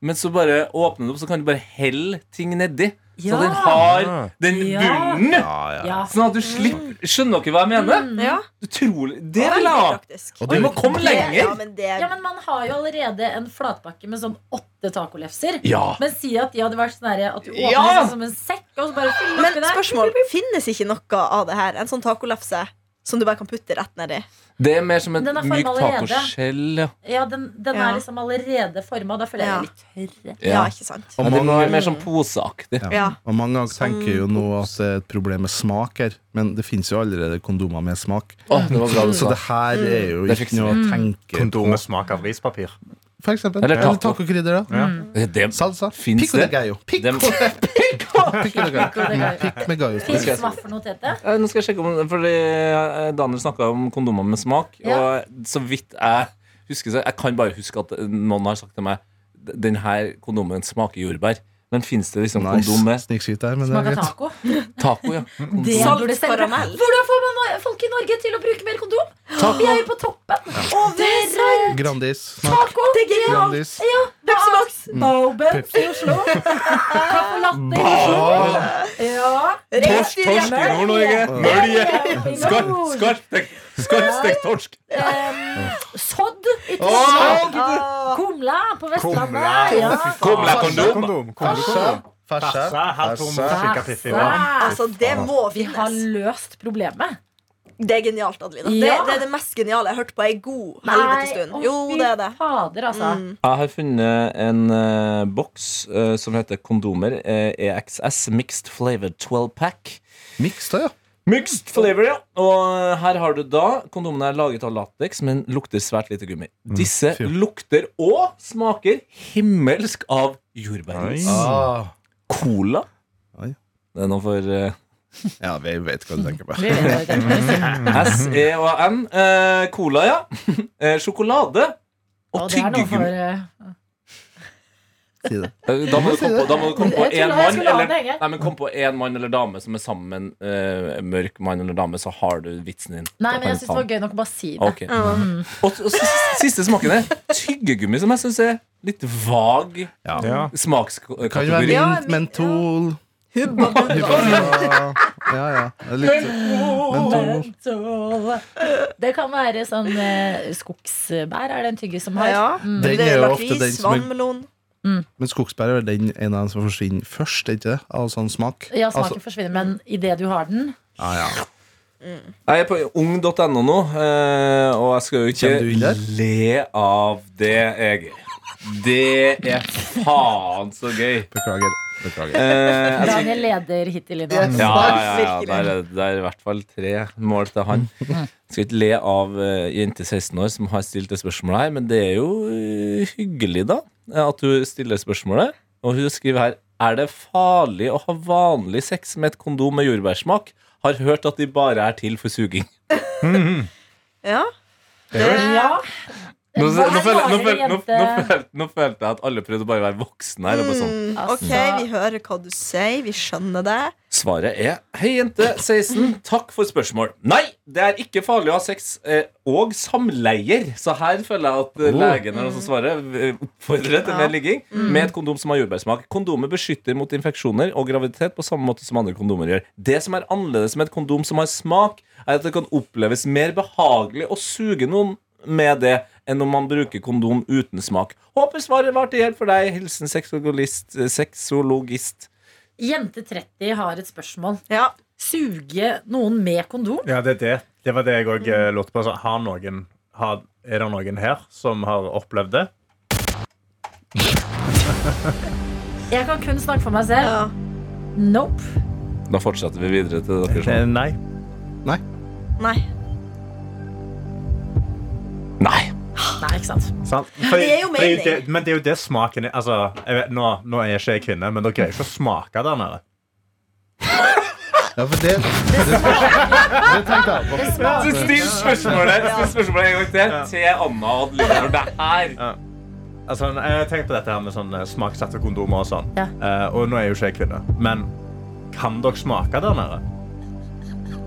[SPEAKER 6] men så bare åpner du opp, så kan du bare helle ting nedi.
[SPEAKER 2] Ja.
[SPEAKER 6] Så den har den
[SPEAKER 2] Ja. Mm.
[SPEAKER 6] bunnen.
[SPEAKER 2] ja.
[SPEAKER 6] Sånn at du slipper Skjønner dere hva jeg
[SPEAKER 2] Mm.
[SPEAKER 6] mener?
[SPEAKER 3] Ja,
[SPEAKER 6] Utrolig. Det vil jeg
[SPEAKER 3] veldig
[SPEAKER 6] ha.
[SPEAKER 3] praktisk.
[SPEAKER 5] Og
[SPEAKER 6] Vi må komme
[SPEAKER 3] Ja,
[SPEAKER 6] lenger.
[SPEAKER 3] men det
[SPEAKER 2] Ja, men man har jo allerede en flatpakke med sånn åtte tacolefser.
[SPEAKER 6] Ja.
[SPEAKER 2] Men si at de hadde vært sånn herre at du åpner
[SPEAKER 6] Ja.
[SPEAKER 2] sånn som en sekk, og så bare fyller
[SPEAKER 3] Men
[SPEAKER 2] oppi der.
[SPEAKER 3] spørsmål, finnes ikke noe av det her? En sånn tacolefse som du bare kan putte rett nedi?
[SPEAKER 6] Det er mer som et
[SPEAKER 2] Den er formet
[SPEAKER 6] mykt
[SPEAKER 2] allerede.
[SPEAKER 6] tacoskjell. Ja.
[SPEAKER 2] Ja, den, den
[SPEAKER 3] Ja.
[SPEAKER 2] er liksom allerede forma. Da føler jeg meg litt tørre.
[SPEAKER 3] Ja,
[SPEAKER 6] Ja.
[SPEAKER 3] ikke sant?
[SPEAKER 5] Og
[SPEAKER 6] Ja, det må
[SPEAKER 5] mange,
[SPEAKER 6] være mer sånn poseaktig.
[SPEAKER 3] Ja.
[SPEAKER 5] og mange ganger tenker jo
[SPEAKER 2] Sånn.
[SPEAKER 5] nå at det er et problem med smak her, men det finnes jo allerede kondomer med smak.
[SPEAKER 6] Åh, det var bra du
[SPEAKER 5] Så
[SPEAKER 6] sa.
[SPEAKER 5] det her er jo
[SPEAKER 6] Det
[SPEAKER 5] ikke
[SPEAKER 6] fikser
[SPEAKER 2] Mm.
[SPEAKER 5] noe å tenke
[SPEAKER 4] Kondom med smak av rispapir.
[SPEAKER 5] For eksempel.
[SPEAKER 6] Eller
[SPEAKER 5] Eller,
[SPEAKER 6] taco.
[SPEAKER 5] tacokrydder, da.
[SPEAKER 6] Det, det,
[SPEAKER 5] Salsa.
[SPEAKER 6] Finns
[SPEAKER 5] Pico de
[SPEAKER 6] det?
[SPEAKER 5] gallo. Pico
[SPEAKER 6] Dem-
[SPEAKER 5] de Pico de gallo.
[SPEAKER 2] Pico de gallo.
[SPEAKER 5] Pick med gallo.
[SPEAKER 2] Fins hva for noe, Tete?
[SPEAKER 6] Eh, Nå skal jeg sjekke om Fordi eh, Daniel snakka om kondomer med smak.
[SPEAKER 2] Ja.
[SPEAKER 6] Og så vidt jeg husker så Jeg kan bare huske at noen har sagt til meg "D- Den her kondomen smaker jordbær. Men fins det liksom kondom
[SPEAKER 5] Nice.
[SPEAKER 6] med
[SPEAKER 5] Snikskyt der, men det er
[SPEAKER 2] Smaker
[SPEAKER 5] greit.
[SPEAKER 2] taco?
[SPEAKER 6] taco? Ja.
[SPEAKER 2] Det
[SPEAKER 3] Salt
[SPEAKER 2] burde stemme.
[SPEAKER 3] karamell.
[SPEAKER 2] Hvordan får man no- folk i Norge til å bruke mer kondom?
[SPEAKER 6] Taco.
[SPEAKER 2] Vi er jo på toppen! Og det er sant!
[SPEAKER 5] Grandis. Smak.
[SPEAKER 2] Taco! Det er
[SPEAKER 5] Grandis.
[SPEAKER 2] Ja,
[SPEAKER 3] Pepsi Max,
[SPEAKER 2] Bobens i Oslo. Caffè Latte i Oslo. Ja.
[SPEAKER 3] Rest i
[SPEAKER 6] Torsk i
[SPEAKER 3] hjemmet.
[SPEAKER 6] Nord-Norge! Mølje!
[SPEAKER 2] Nord.
[SPEAKER 6] Skarpstekt torsk!
[SPEAKER 2] Em, Sodd i Trøndelag. Kumla på Vestlandet. Ja.
[SPEAKER 6] Kumla kondom!
[SPEAKER 4] Kondom. Kondom.
[SPEAKER 5] Fersa.
[SPEAKER 4] Fersa, her får vi
[SPEAKER 5] Fersa.
[SPEAKER 4] skikke fiffi. Ja.
[SPEAKER 3] Altså, det må
[SPEAKER 2] Vi har
[SPEAKER 3] finnes.
[SPEAKER 2] løst problemet.
[SPEAKER 3] Det er genialt, Adelina. Det,
[SPEAKER 2] Ja.
[SPEAKER 3] det er det mest geniale jeg har hørt på ei god helvete stund.
[SPEAKER 2] å,
[SPEAKER 3] Jo,
[SPEAKER 2] fy
[SPEAKER 3] det er det. Mm.
[SPEAKER 2] Fader, altså.
[SPEAKER 6] Jeg har funnet en eh, boks eh, som heter Kondomer eh, EXS Mixed Flavored 12 Pack.
[SPEAKER 5] Mixed, da, ja.
[SPEAKER 6] Mixed flavor, ja. Og her har du da Kondomene er laget av lateks, men lukter svært lite gummi. Disse
[SPEAKER 5] Mm, fy.
[SPEAKER 6] lukter og smaker himmelsk av jordbærjus.
[SPEAKER 5] Ah.
[SPEAKER 6] Cola.
[SPEAKER 5] Oi.
[SPEAKER 6] Det er noe for eh,
[SPEAKER 5] Ja, vi vet hva du tenker på.
[SPEAKER 2] Vi vet hva vi tenker.
[SPEAKER 6] S, E og N. Eh, cola, ja. Eh, Sjokolade. Og
[SPEAKER 2] Og det er noe for
[SPEAKER 6] tyggegummi.
[SPEAKER 2] eh,
[SPEAKER 5] Si det.
[SPEAKER 6] Eh, Da må du komme på, da må du komme på
[SPEAKER 2] Jeg trodde jeg
[SPEAKER 6] en mann
[SPEAKER 2] skulle la
[SPEAKER 6] eller,
[SPEAKER 2] det henge.
[SPEAKER 6] nei, men kom på en mann eller dame som er sammen med en eh, mørk mann eller dame, så har du vitsen din.
[SPEAKER 2] Nei, men
[SPEAKER 6] Da kan
[SPEAKER 2] jeg
[SPEAKER 6] du
[SPEAKER 2] syns
[SPEAKER 6] ta
[SPEAKER 2] det var gøy nok å bare si det.
[SPEAKER 6] Ok.
[SPEAKER 5] Mhm.
[SPEAKER 6] Og, og s- s- siste smaken er tyggegummi, som jeg syns er litt vag
[SPEAKER 5] Ja.
[SPEAKER 4] Ja.
[SPEAKER 5] Kan jo være
[SPEAKER 6] smakskategori.
[SPEAKER 3] Ja,
[SPEAKER 5] mint,
[SPEAKER 3] men-
[SPEAKER 5] mentol
[SPEAKER 3] Hubba bubba.
[SPEAKER 5] Ja, ja. ja. Det er Litt, mentol.
[SPEAKER 2] Mentol. Det kan være sånn eh, skogsbær er det en tygger som har.
[SPEAKER 3] Ja.
[SPEAKER 5] Den
[SPEAKER 3] Det
[SPEAKER 5] er
[SPEAKER 3] er
[SPEAKER 5] jo ofte den
[SPEAKER 3] lakris,
[SPEAKER 5] som er
[SPEAKER 3] vannmelon.
[SPEAKER 5] Men skogsbær er vel den en av dem som forsvinner først, er ikke det? Av sånn smak.
[SPEAKER 2] Ja, smaken
[SPEAKER 5] Altså-
[SPEAKER 2] forsvinner, men idet du har den
[SPEAKER 5] ja, ja.
[SPEAKER 6] Jeg er på ung.no nå, eh, og jeg skal jo
[SPEAKER 5] Kjenner du inn
[SPEAKER 6] ikke
[SPEAKER 5] der?
[SPEAKER 6] le av det, Egil. Det er faen så gøy.
[SPEAKER 5] Beklager. Beklager.
[SPEAKER 6] Eh, jeg skal
[SPEAKER 2] Daniel leder hittil i dag.
[SPEAKER 3] Yes.
[SPEAKER 6] ja,
[SPEAKER 3] Svar,
[SPEAKER 6] ja, ja.
[SPEAKER 3] virkelig.
[SPEAKER 6] Der, er- det er i hvert fall tre mål til han. Jeg skal ikke le av uh, jente 16 år som har stilt det spørsmålet her, men det er jo eh, hyggelig, da, at hun stiller spørsmålet. Og hun skriver her Er det farlig å ha vanlig sex med et kondom med jordbærsmak? Har hørt at de bare er til for suging.
[SPEAKER 3] Ja.
[SPEAKER 2] Ja.
[SPEAKER 6] Nå,
[SPEAKER 2] Hva er
[SPEAKER 6] nå, føler, nå,
[SPEAKER 2] rarere
[SPEAKER 6] føler, nå, nå,
[SPEAKER 2] jente?
[SPEAKER 6] føler, nå følte jeg at alle prøvde å bare være voksne her. Og bare sånn.
[SPEAKER 3] Mm,
[SPEAKER 2] Altså-
[SPEAKER 3] OK, vi hører hva du sier. Vi skjønner det.
[SPEAKER 6] Svaret er Hei, jente 16. Takk for spørsmål. Nei, det er ikke farlig å ha sex eh, og samleier. Så her føler jeg at eh, legen er den som svarer. eh, Oppfordrer til mer ligging med et kondom som har jordbærsmak. Kondomet beskytter mot infeksjoner og graviditet på samme måte som andre kondomer gjør. Det som er annerledes med et kondom som har smak, er at det kan oppleves mer behagelig å suge noen med det enn om man bruker kondom uten smak. Håper svaret var til hjelp for deg. Hilsen sexologist. eh, sexologist.
[SPEAKER 2] Jente 30 har et spørsmål.
[SPEAKER 3] Ja.
[SPEAKER 2] Suge noen med kondom?
[SPEAKER 4] Ja, det er det. Det var det jeg òg lurte på. Altså, har noen, har, er det noen her som har opplevd det?
[SPEAKER 2] Jeg kan kun snakke for meg selv.
[SPEAKER 3] ja.
[SPEAKER 2] Nope.
[SPEAKER 6] Da fortsetter vi videre til dere.
[SPEAKER 4] Eh,
[SPEAKER 6] som-
[SPEAKER 4] Nei.
[SPEAKER 3] Nei.
[SPEAKER 6] Nei.
[SPEAKER 2] Nei, ikke sant.
[SPEAKER 4] Sant? Fordi-
[SPEAKER 3] Det er jo
[SPEAKER 4] fordi
[SPEAKER 3] mening.
[SPEAKER 4] det- Men det er jo det smaken er. Altså, jeg vet, nå, nå er jeg ikke jeg kvinne, men dere greier ikke å smake der nede.
[SPEAKER 5] Ja, for det, det, det tenkte jeg på.
[SPEAKER 2] Det smaker
[SPEAKER 6] Still spørsmålet Still spørsmålet en gang til til Anna og Adeline for det her.
[SPEAKER 4] Altså, jeg har tenkt på dette her med sånn eh, smaksatte kondomer og sånn.
[SPEAKER 2] Ja.
[SPEAKER 4] Eh, og nå er jo ikke jeg kvinne, men kan dere smake der nede?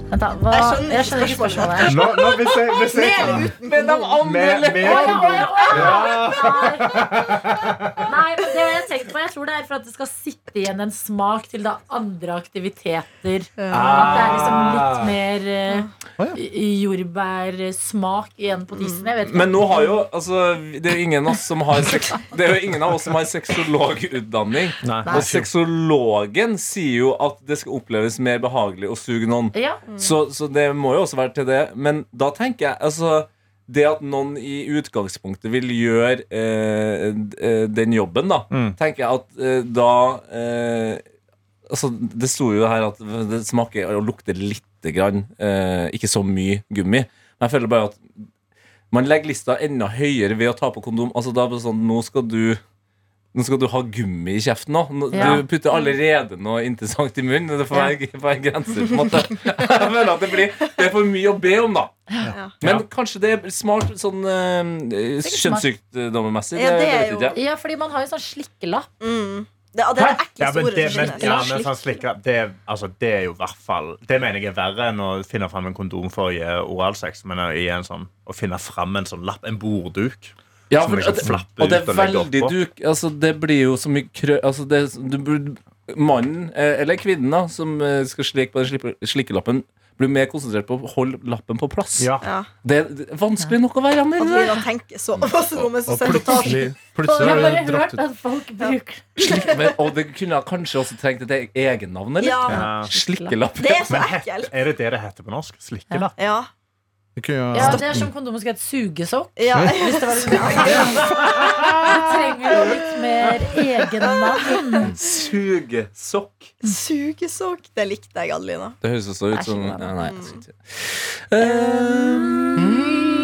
[SPEAKER 2] Vent da, hva?
[SPEAKER 3] Jeg skjønner ikke
[SPEAKER 2] Jeg skjønner ikke
[SPEAKER 3] spørsmålet.
[SPEAKER 2] spørsmålet.
[SPEAKER 4] Nå, nå, hvis jeg, hvis jeg,
[SPEAKER 6] Men de
[SPEAKER 4] Med-
[SPEAKER 6] andre
[SPEAKER 4] med-
[SPEAKER 2] Å, ja, å, ja, å, ja.
[SPEAKER 4] ja.
[SPEAKER 2] Nei, men det har jeg tenkt på. Jeg tror det er for at det skal sitte igjen en smak til da andre aktiviteter. At det er liksom litt mer eh,
[SPEAKER 5] Å, ja.
[SPEAKER 2] j- jordbærsmak igjen på tissen. Jeg vet ikke.
[SPEAKER 6] Men nå har jo altså, Det er jo ingen av oss som har sex, Det er jo ingen av oss som har sexologutdanning.
[SPEAKER 4] Nei.
[SPEAKER 6] Og sexologen sier jo at det skal oppleves mer behagelig å suge noen.
[SPEAKER 2] Ja,
[SPEAKER 6] Så, så det må jo også være til det. Men da tenker jeg altså det at noen i utgangspunktet vil gjøre eh, d- eh, den jobben, da,
[SPEAKER 4] Mm.
[SPEAKER 6] tenker jeg at eh, da eh, Altså, det sto jo her at det smaker og lukter lite grann, eh, ikke så mye gummi. Men jeg føler bare at man legger lista enda høyere ved å ta på kondom. Altså, da er det sånn, nå skal du nå skal du ha gummi i kjeften nå. Nå-
[SPEAKER 2] Ja.
[SPEAKER 6] Du putter allerede noe interessant i munnen. Det får være, får være grenser, på en måte. Jeg føler at det blir Det er for mye å be om, da.
[SPEAKER 3] Ja.
[SPEAKER 6] Men kanskje det er smart sånn uh,
[SPEAKER 2] Sikkert smart.
[SPEAKER 6] kjønnssykdommemessig.
[SPEAKER 3] Ja, det er
[SPEAKER 6] vet
[SPEAKER 3] jo-
[SPEAKER 6] ikke jeg.
[SPEAKER 2] ja fordi man har jo sånn slikkelapp.
[SPEAKER 3] Mm. Det, det er det
[SPEAKER 4] Ja,
[SPEAKER 3] ekleste
[SPEAKER 4] men
[SPEAKER 3] ordet
[SPEAKER 4] det,
[SPEAKER 3] som
[SPEAKER 4] men,
[SPEAKER 3] finnes.
[SPEAKER 4] ja, men sånn slik, det, er- altså, det er jo i hvert fall Det mener jeg er verre enn å finne fram en kondom for å gi oralsex. Men å, gi en sånn, å finne fram en sånn lapp, en bordduk.
[SPEAKER 6] Ja,
[SPEAKER 4] Som
[SPEAKER 6] for,
[SPEAKER 4] liksom
[SPEAKER 6] at-
[SPEAKER 4] flapper
[SPEAKER 6] og det
[SPEAKER 4] ut
[SPEAKER 6] er
[SPEAKER 4] og legger
[SPEAKER 6] veldig
[SPEAKER 4] oppå.
[SPEAKER 6] duk altså, Det blir jo så mye krø... Altså, det, du, burde- mannen, eh, eller kvinnen, da, som eh, skal slikke på den slippe- slikkelappen, blir mer konsentrert på å holde lappen på plass.
[SPEAKER 4] Ja.
[SPEAKER 3] Ja.
[SPEAKER 6] Det, det er vanskelig nok å være med
[SPEAKER 3] At
[SPEAKER 6] i
[SPEAKER 3] vi
[SPEAKER 6] det.
[SPEAKER 3] da tenker så masse om en
[SPEAKER 5] Og
[SPEAKER 3] sensotasje.
[SPEAKER 5] plutselig, plutselig
[SPEAKER 2] Jeg har
[SPEAKER 5] har
[SPEAKER 2] bare
[SPEAKER 5] du dratt
[SPEAKER 2] hørt
[SPEAKER 5] ut.
[SPEAKER 2] at folk bruker
[SPEAKER 6] Slik- Men, og det kunne jeg kanskje også trengt et e- egennavn, eller?
[SPEAKER 3] Ja,
[SPEAKER 4] Ja.
[SPEAKER 6] Slikkelapp.
[SPEAKER 3] det er så
[SPEAKER 4] Men
[SPEAKER 3] ekkelt.
[SPEAKER 4] er det det det heter på norsk? Slikkelapp?
[SPEAKER 3] Ja.
[SPEAKER 5] Det kunne jo-
[SPEAKER 2] Ja, det er som kondomet skal hete sugesokk.
[SPEAKER 3] ja.
[SPEAKER 2] Hvis det var litt trenger jo litt mer egennavn.
[SPEAKER 6] Sugesokk.
[SPEAKER 3] Sugesokk. Det likte jeg, Adelina.
[SPEAKER 6] Det høres også
[SPEAKER 2] Det er
[SPEAKER 6] ut som
[SPEAKER 2] ikke bra. Mm.
[SPEAKER 6] Nei, nei, jeg skal ikke. Eh,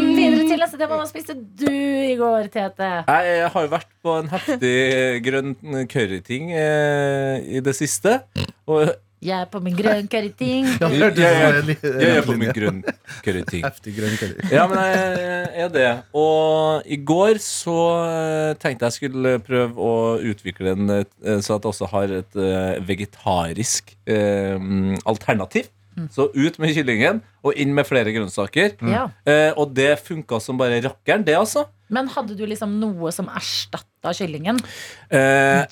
[SPEAKER 2] Videre til neste tema. Hva spiste du i går, Tete?
[SPEAKER 6] Jeg har jo vært på en heftig grønn curryting eh, i det siste. Og
[SPEAKER 2] Jeg er på min grønn curryting.
[SPEAKER 5] Ja, det hørtes ut
[SPEAKER 6] Ja, ja.
[SPEAKER 5] som en li-
[SPEAKER 6] jeg er på min
[SPEAKER 5] linje.
[SPEAKER 6] grønn curryting.
[SPEAKER 5] Heftig grønn curry.
[SPEAKER 6] Ja, men jeg er det. Og i går så eh, tenkte jeg skulle prøve å utvikle en eh, så at jeg også har et eh, vegetarisk eh, alternativ. Så ut med kyllingen og inn med flere grønnsaker.
[SPEAKER 2] Mm. Ja.
[SPEAKER 6] Eh, og det funka som bare rakkeren, det, altså.
[SPEAKER 2] Men hadde du liksom noe som erstatta kyllingen?
[SPEAKER 6] Eh,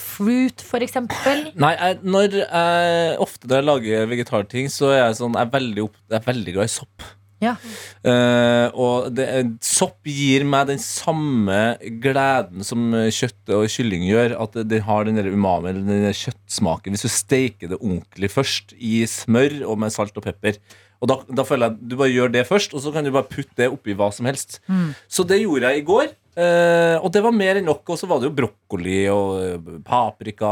[SPEAKER 2] Jackfruit, for eksempel?
[SPEAKER 6] Nei, jeg, når jeg, ofte når jeg lager vegetarting, så er jeg sånn Jeg er veldig, opp, jeg er veldig glad i sopp.
[SPEAKER 2] Ja.
[SPEAKER 6] Eh, og det, sopp gir meg den samme gleden som eh, kjøtt og kylling gjør. At det, det har den der umami, eller den der kjøttsmaken. Hvis du steiker det ordentlig først i smør og med salt og pepper. Og da, da føler jeg at Du bare gjør det først, og så kan du bare putte det oppi hva som helst. Så det gjorde jeg i går. eh, og det var mer enn nok. Og så var det jo brokkoli og eh, paprika